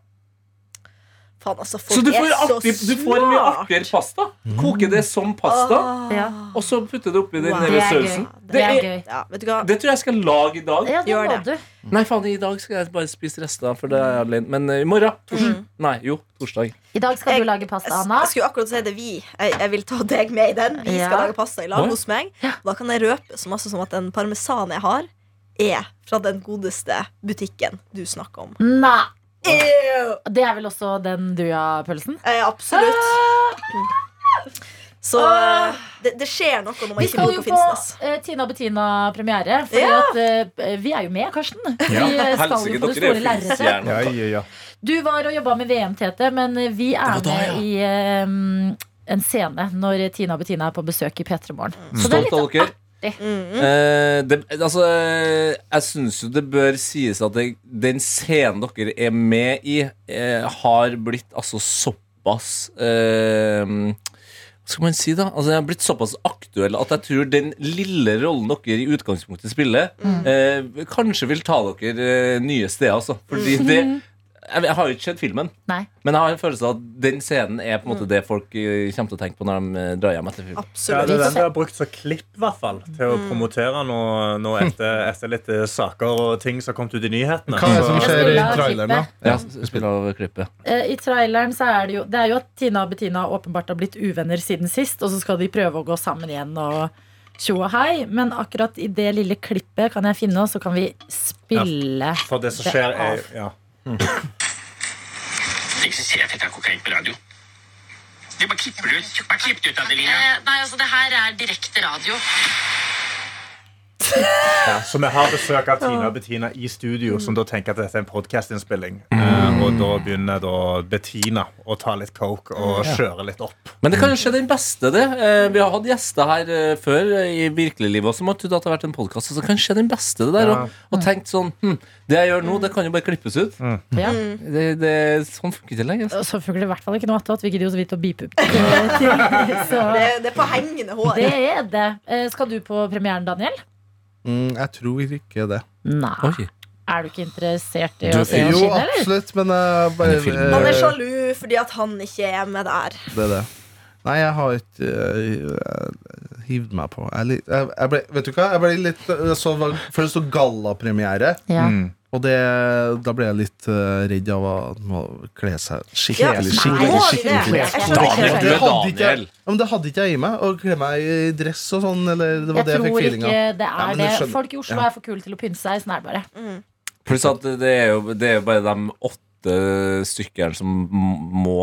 [SPEAKER 3] Faen, altså, folk
[SPEAKER 6] Så du får,
[SPEAKER 3] er
[SPEAKER 6] artig,
[SPEAKER 3] så
[SPEAKER 6] du får mye
[SPEAKER 3] smart.
[SPEAKER 6] artigere pasta. Koker det som pasta,
[SPEAKER 3] Åh.
[SPEAKER 2] Ja.
[SPEAKER 6] og så putter det oppi den
[SPEAKER 3] Wow.
[SPEAKER 6] wow.
[SPEAKER 2] Det er
[SPEAKER 6] sausen.
[SPEAKER 2] gøy.
[SPEAKER 6] Det,
[SPEAKER 2] Det er
[SPEAKER 6] er,
[SPEAKER 2] gøy.
[SPEAKER 3] Ja, vet du hva?
[SPEAKER 6] det tror jeg jeg skal lage i dag.
[SPEAKER 2] Ja, det
[SPEAKER 3] Gjør
[SPEAKER 2] må
[SPEAKER 3] det.
[SPEAKER 2] du.
[SPEAKER 6] Nei, faen, i dag skal jeg bare spise rester, for det er jeg alene. Men eh, i morgen. Tors
[SPEAKER 2] Mm.
[SPEAKER 6] Nei, jo, torsdag.
[SPEAKER 2] I dag skal
[SPEAKER 3] Jeg-
[SPEAKER 2] du lage pasta,
[SPEAKER 3] Jeg,
[SPEAKER 2] Anna.
[SPEAKER 3] jeg skulle akkurat si det vi. Jeg, jeg vil ta deg med i den. Vi skal
[SPEAKER 2] Ja.
[SPEAKER 3] lage pasta i lag
[SPEAKER 6] Oi.
[SPEAKER 3] hos meg. Da kan jeg røpe så masse som at den parmesanen jeg har, er fra den godeste butikken du snakker om.
[SPEAKER 2] Nei.
[SPEAKER 3] Ew.
[SPEAKER 2] Det er vel også den Ah, duapølsen?
[SPEAKER 3] Eh, absolutt. Så eh, det, det skjer noe når man
[SPEAKER 2] Vi
[SPEAKER 3] ikke
[SPEAKER 2] skal
[SPEAKER 3] bor
[SPEAKER 2] jo
[SPEAKER 3] på
[SPEAKER 2] på
[SPEAKER 3] Finnsnes.
[SPEAKER 2] eh, Tina og Bettina-premiere. For
[SPEAKER 3] Ja.
[SPEAKER 2] at, eh, vi er jo med, Karsten. Vi
[SPEAKER 6] Ja.
[SPEAKER 2] eh, skal
[SPEAKER 6] Helsike,
[SPEAKER 2] jo på det
[SPEAKER 6] dere er
[SPEAKER 2] store lerretet.
[SPEAKER 4] Ja,
[SPEAKER 6] filmstjerner.
[SPEAKER 4] ja, ja.
[SPEAKER 2] Du var og jobba med VM, Tete, men eh, vi er
[SPEAKER 6] var da, ja.
[SPEAKER 2] med i eh, en scene når Tina og Bettina er på besøk i P3 Morgen. Så det er
[SPEAKER 6] Mm. Stolt
[SPEAKER 2] litt
[SPEAKER 6] av dere.
[SPEAKER 3] Mm.
[SPEAKER 6] Eh, det, altså, eh, jeg syns jo det bør sies at det, den scenen dere er med i, eh, har blitt altså såpass eh, Hva skal man si, da? Altså, Den har blitt såpass aktuell at jeg tror den lille rollen dere i utgangspunktet spiller,
[SPEAKER 2] Mm.
[SPEAKER 6] eh, kanskje vil ta dere eh, nye steder, altså. Fordi
[SPEAKER 2] Mm.
[SPEAKER 6] det jeg, jeg har jo ikke sett filmen,
[SPEAKER 2] Nei.
[SPEAKER 6] men jeg har en følelse av at den scenen er på en
[SPEAKER 2] Mm.
[SPEAKER 6] måte det folk eh, kommer til å tenke på når de eh, drar hjem etter filmen.
[SPEAKER 4] Ja,
[SPEAKER 3] Absolutt.
[SPEAKER 4] det er den du har brukt som klipp i hvert fall, til å promotere noe, noe etter, etter litt eh, saker og ting som har kommet ut i nyhetene.
[SPEAKER 5] Hva er det som
[SPEAKER 4] Så-
[SPEAKER 5] skjer i
[SPEAKER 2] spiller
[SPEAKER 5] traileren, da?
[SPEAKER 2] klippet.
[SPEAKER 6] Ja, spill av klippet.
[SPEAKER 2] Eh, I traileren så er det jo Det er jo at Tina og Bettina åpenbart har blitt uvenner siden sist, og så skal de prøve å gå sammen igjen og tjo og hei. Men akkurat i det lille klippet kan jeg finne, og så kan vi spille
[SPEAKER 4] For det som skjer, er ja.
[SPEAKER 7] Liksom sier jeg at dette er kokain på radio. Det bare klipper du ut. Bare klipp det ut, Adelina.
[SPEAKER 8] Eh, nei, altså det her er direkte radio.
[SPEAKER 4] Ja, Så vi har besøk av Tina og Bettina i studio, som da tenker at dette er en podcastinnspilling. Eh, og da begynner da Bettina å ta litt coke og kjøre litt opp.
[SPEAKER 6] Men det kan jo skje den beste, det. Eh, vi har hatt gjester her eh, før eh, i virkelig livet også, som har trodd at det har vært en podkast. Så det kan skje den beste, det der.
[SPEAKER 4] Ja.
[SPEAKER 6] Og, og tenkt sånn hm, Det jeg gjør nå, det kan jo bare klippes ut.
[SPEAKER 2] Ja.
[SPEAKER 6] Det, det, sånn funker det ikke lenger. Altså.
[SPEAKER 2] Og Så funker det i hvert fall ikke noe attåt. Vi gidder jo så vidt å beepe ut. eh, ting.
[SPEAKER 3] Det,
[SPEAKER 2] Så
[SPEAKER 3] det er på hengende hår.
[SPEAKER 2] det er det. Eh, Skal du på premieren, Daniel?
[SPEAKER 5] Mm, jeg tror ikke det.
[SPEAKER 2] Nei.
[SPEAKER 6] Oi.
[SPEAKER 2] Er du ikke interessert i
[SPEAKER 6] Du
[SPEAKER 2] å
[SPEAKER 6] er
[SPEAKER 2] se oss
[SPEAKER 5] Jo,
[SPEAKER 2] skinne, eller?
[SPEAKER 5] absolutt, men jeg bare
[SPEAKER 6] Men i filmen.
[SPEAKER 5] eh,
[SPEAKER 3] Han er sjalu fordi at han ikke er med der.
[SPEAKER 5] Det er det. Nei, jeg har ikke uh, hivd meg på. Jeg, er litt- jeg, jeg ble, vet du hva? Jeg ble litt jeg så, For det sto gallapremiere,
[SPEAKER 4] Mm.
[SPEAKER 2] Ja.
[SPEAKER 5] og det, da ble jeg litt eh, redd av at man må kle seg
[SPEAKER 3] Ja,
[SPEAKER 5] skikkelig.
[SPEAKER 3] nei,
[SPEAKER 5] skikkelig,
[SPEAKER 3] må vi det?
[SPEAKER 5] skikkelig.
[SPEAKER 3] Jeg skjønner ikke
[SPEAKER 6] Daniel,
[SPEAKER 3] helt.
[SPEAKER 6] du
[SPEAKER 5] Det
[SPEAKER 6] er
[SPEAKER 5] hadde ikke jeg-
[SPEAKER 6] Daniel.
[SPEAKER 5] ja, men det hadde ikke jeg i meg. Å kle meg i dress og sånn. Eller, det var
[SPEAKER 2] Jeg
[SPEAKER 5] det jeg fikk
[SPEAKER 2] tror
[SPEAKER 5] feeling
[SPEAKER 2] ikke
[SPEAKER 5] av.
[SPEAKER 2] det
[SPEAKER 5] Ja,
[SPEAKER 2] er
[SPEAKER 5] men du
[SPEAKER 2] det.
[SPEAKER 5] skjønner-
[SPEAKER 2] Folk i Oslo
[SPEAKER 5] Ja.
[SPEAKER 2] er for kule til å pynte seg. Sånn er det bare.
[SPEAKER 6] Pluss at det er jo, det er jo bare de åtte stykkene som m- må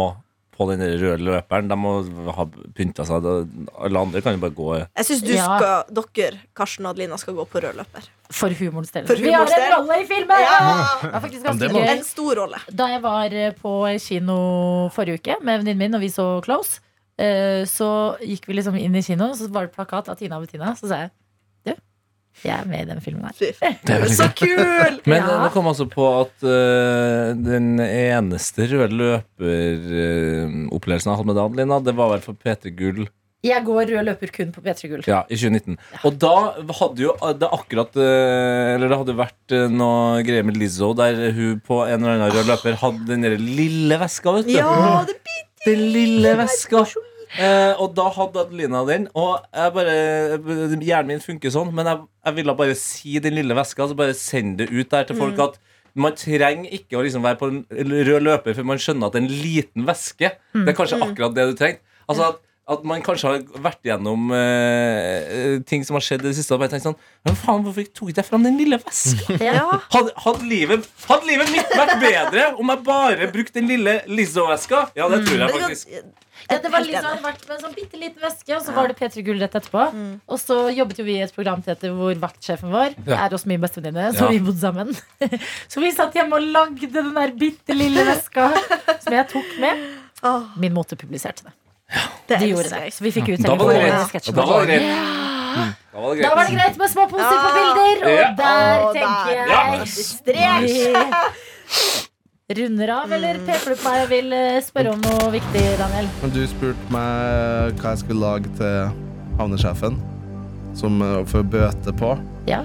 [SPEAKER 6] på den der røde løperen. De må ha pynta seg. Det- Alle andre kan jo bare gå.
[SPEAKER 3] Jeg syns du
[SPEAKER 2] Ja.
[SPEAKER 3] skal, dere, Karsten og Adelina, skal gå på rød løper.
[SPEAKER 2] For humorens del.
[SPEAKER 3] For
[SPEAKER 2] Vi har
[SPEAKER 3] humorens del.
[SPEAKER 2] en rolle i filmen!
[SPEAKER 3] Ja.
[SPEAKER 2] Det er faktisk
[SPEAKER 5] Ja, det
[SPEAKER 2] ganske
[SPEAKER 5] må-
[SPEAKER 2] gøy.
[SPEAKER 3] En stor rolle.
[SPEAKER 2] Da jeg var eh, på kino forrige uke med venninnen min, og vi så Close, eh, så gikk vi liksom inn i kinoen, så var det plakat av Tina og Bettina. Så sa jeg du, jeg er med i den filmen her.
[SPEAKER 3] Fy faen.
[SPEAKER 6] Det er veldig
[SPEAKER 3] Så kul!
[SPEAKER 6] Men
[SPEAKER 2] Ja.
[SPEAKER 6] eh, det kom altså på at eh, den eneste røde løperopplevelsen jeg hadde med deg, Adelina, det var vel for P3 Gull
[SPEAKER 2] Jeg går rød løper kun på P3 Gull.
[SPEAKER 6] ja, i 2019. Og da hadde jo det akkurat eh, Eller det hadde vært eh, noe greier med Lizzo der hun på en eller annen rød løper hadde den der lille veska, vet du.
[SPEAKER 3] Ja, det
[SPEAKER 6] bitte lille veska. Eh, og da hadde Adelina den, og jeg bare, hjernen min funker sånn. Men jeg, jeg ville bare si den lille veska, så bare send det ut der til folk at man trenger ikke å liksom være på en rød løper før man skjønner at en liten veske Det er kanskje akkurat det du trengte. Altså at, at man kanskje har vært gjennom eh, eh, ting som har skjedd i det siste, og bare tenkt sånn Men faen, hvorfor tok jeg fram den lille veska?
[SPEAKER 3] Ja.
[SPEAKER 6] Hadde, hadde, livet, hadde livet mitt vært bedre om jeg bare brukte den lille Lizzo-veska? Ja, det
[SPEAKER 3] Mm.
[SPEAKER 6] tror jeg faktisk.
[SPEAKER 2] Ja, det var
[SPEAKER 3] Helt
[SPEAKER 2] liksom
[SPEAKER 3] enig.
[SPEAKER 2] vært med en sånn bitte liten veske, og så var det P3 Gull rett etterpå.
[SPEAKER 3] Mm.
[SPEAKER 2] Og så jobbet jo vi i et program til dette hvor vaktsjefen vår
[SPEAKER 6] Ja.
[SPEAKER 2] er også min bestevenninne,
[SPEAKER 6] Ja.
[SPEAKER 2] så vi bodde sammen. så vi satt hjemme og lagde den der bitte lille veska som jeg tok med.
[SPEAKER 3] Åh,
[SPEAKER 2] Min mote publiserte det.
[SPEAKER 3] det
[SPEAKER 2] De gjorde
[SPEAKER 3] elsker
[SPEAKER 2] det.
[SPEAKER 3] jeg.
[SPEAKER 2] Så vi fikk ut
[SPEAKER 6] Da var det
[SPEAKER 2] hele
[SPEAKER 6] greit.
[SPEAKER 2] sketsjen.
[SPEAKER 6] Da var det greit. Da var det
[SPEAKER 2] Da var det greit med små poser på bilder,
[SPEAKER 6] Ja.
[SPEAKER 2] og der
[SPEAKER 3] Å,
[SPEAKER 2] tenker
[SPEAKER 3] der.
[SPEAKER 2] jeg
[SPEAKER 3] Strek!
[SPEAKER 2] Vi Runder av, eller
[SPEAKER 3] Mm.
[SPEAKER 2] pepler på meg og vil eh, spørre om noe viktig, Daniel?
[SPEAKER 5] Men du spurte meg hva jeg skulle lage til havnesjefen, som eh, får bøte på.
[SPEAKER 2] Ja.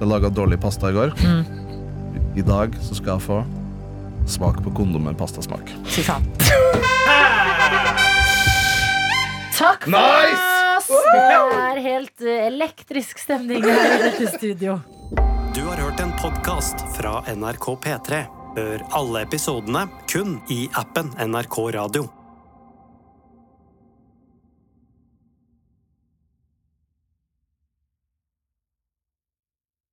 [SPEAKER 5] Jeg laga dårlig pasta i går. I dag så skal jeg få smak på kondom med pastasmak.
[SPEAKER 2] Fy faen. Takk for oss! Det er helt eh, elektrisk stemning her i dette studio.
[SPEAKER 1] Du har hørt en podkast fra NRK P3. Hør alle episodene kun i appen NRK Radio.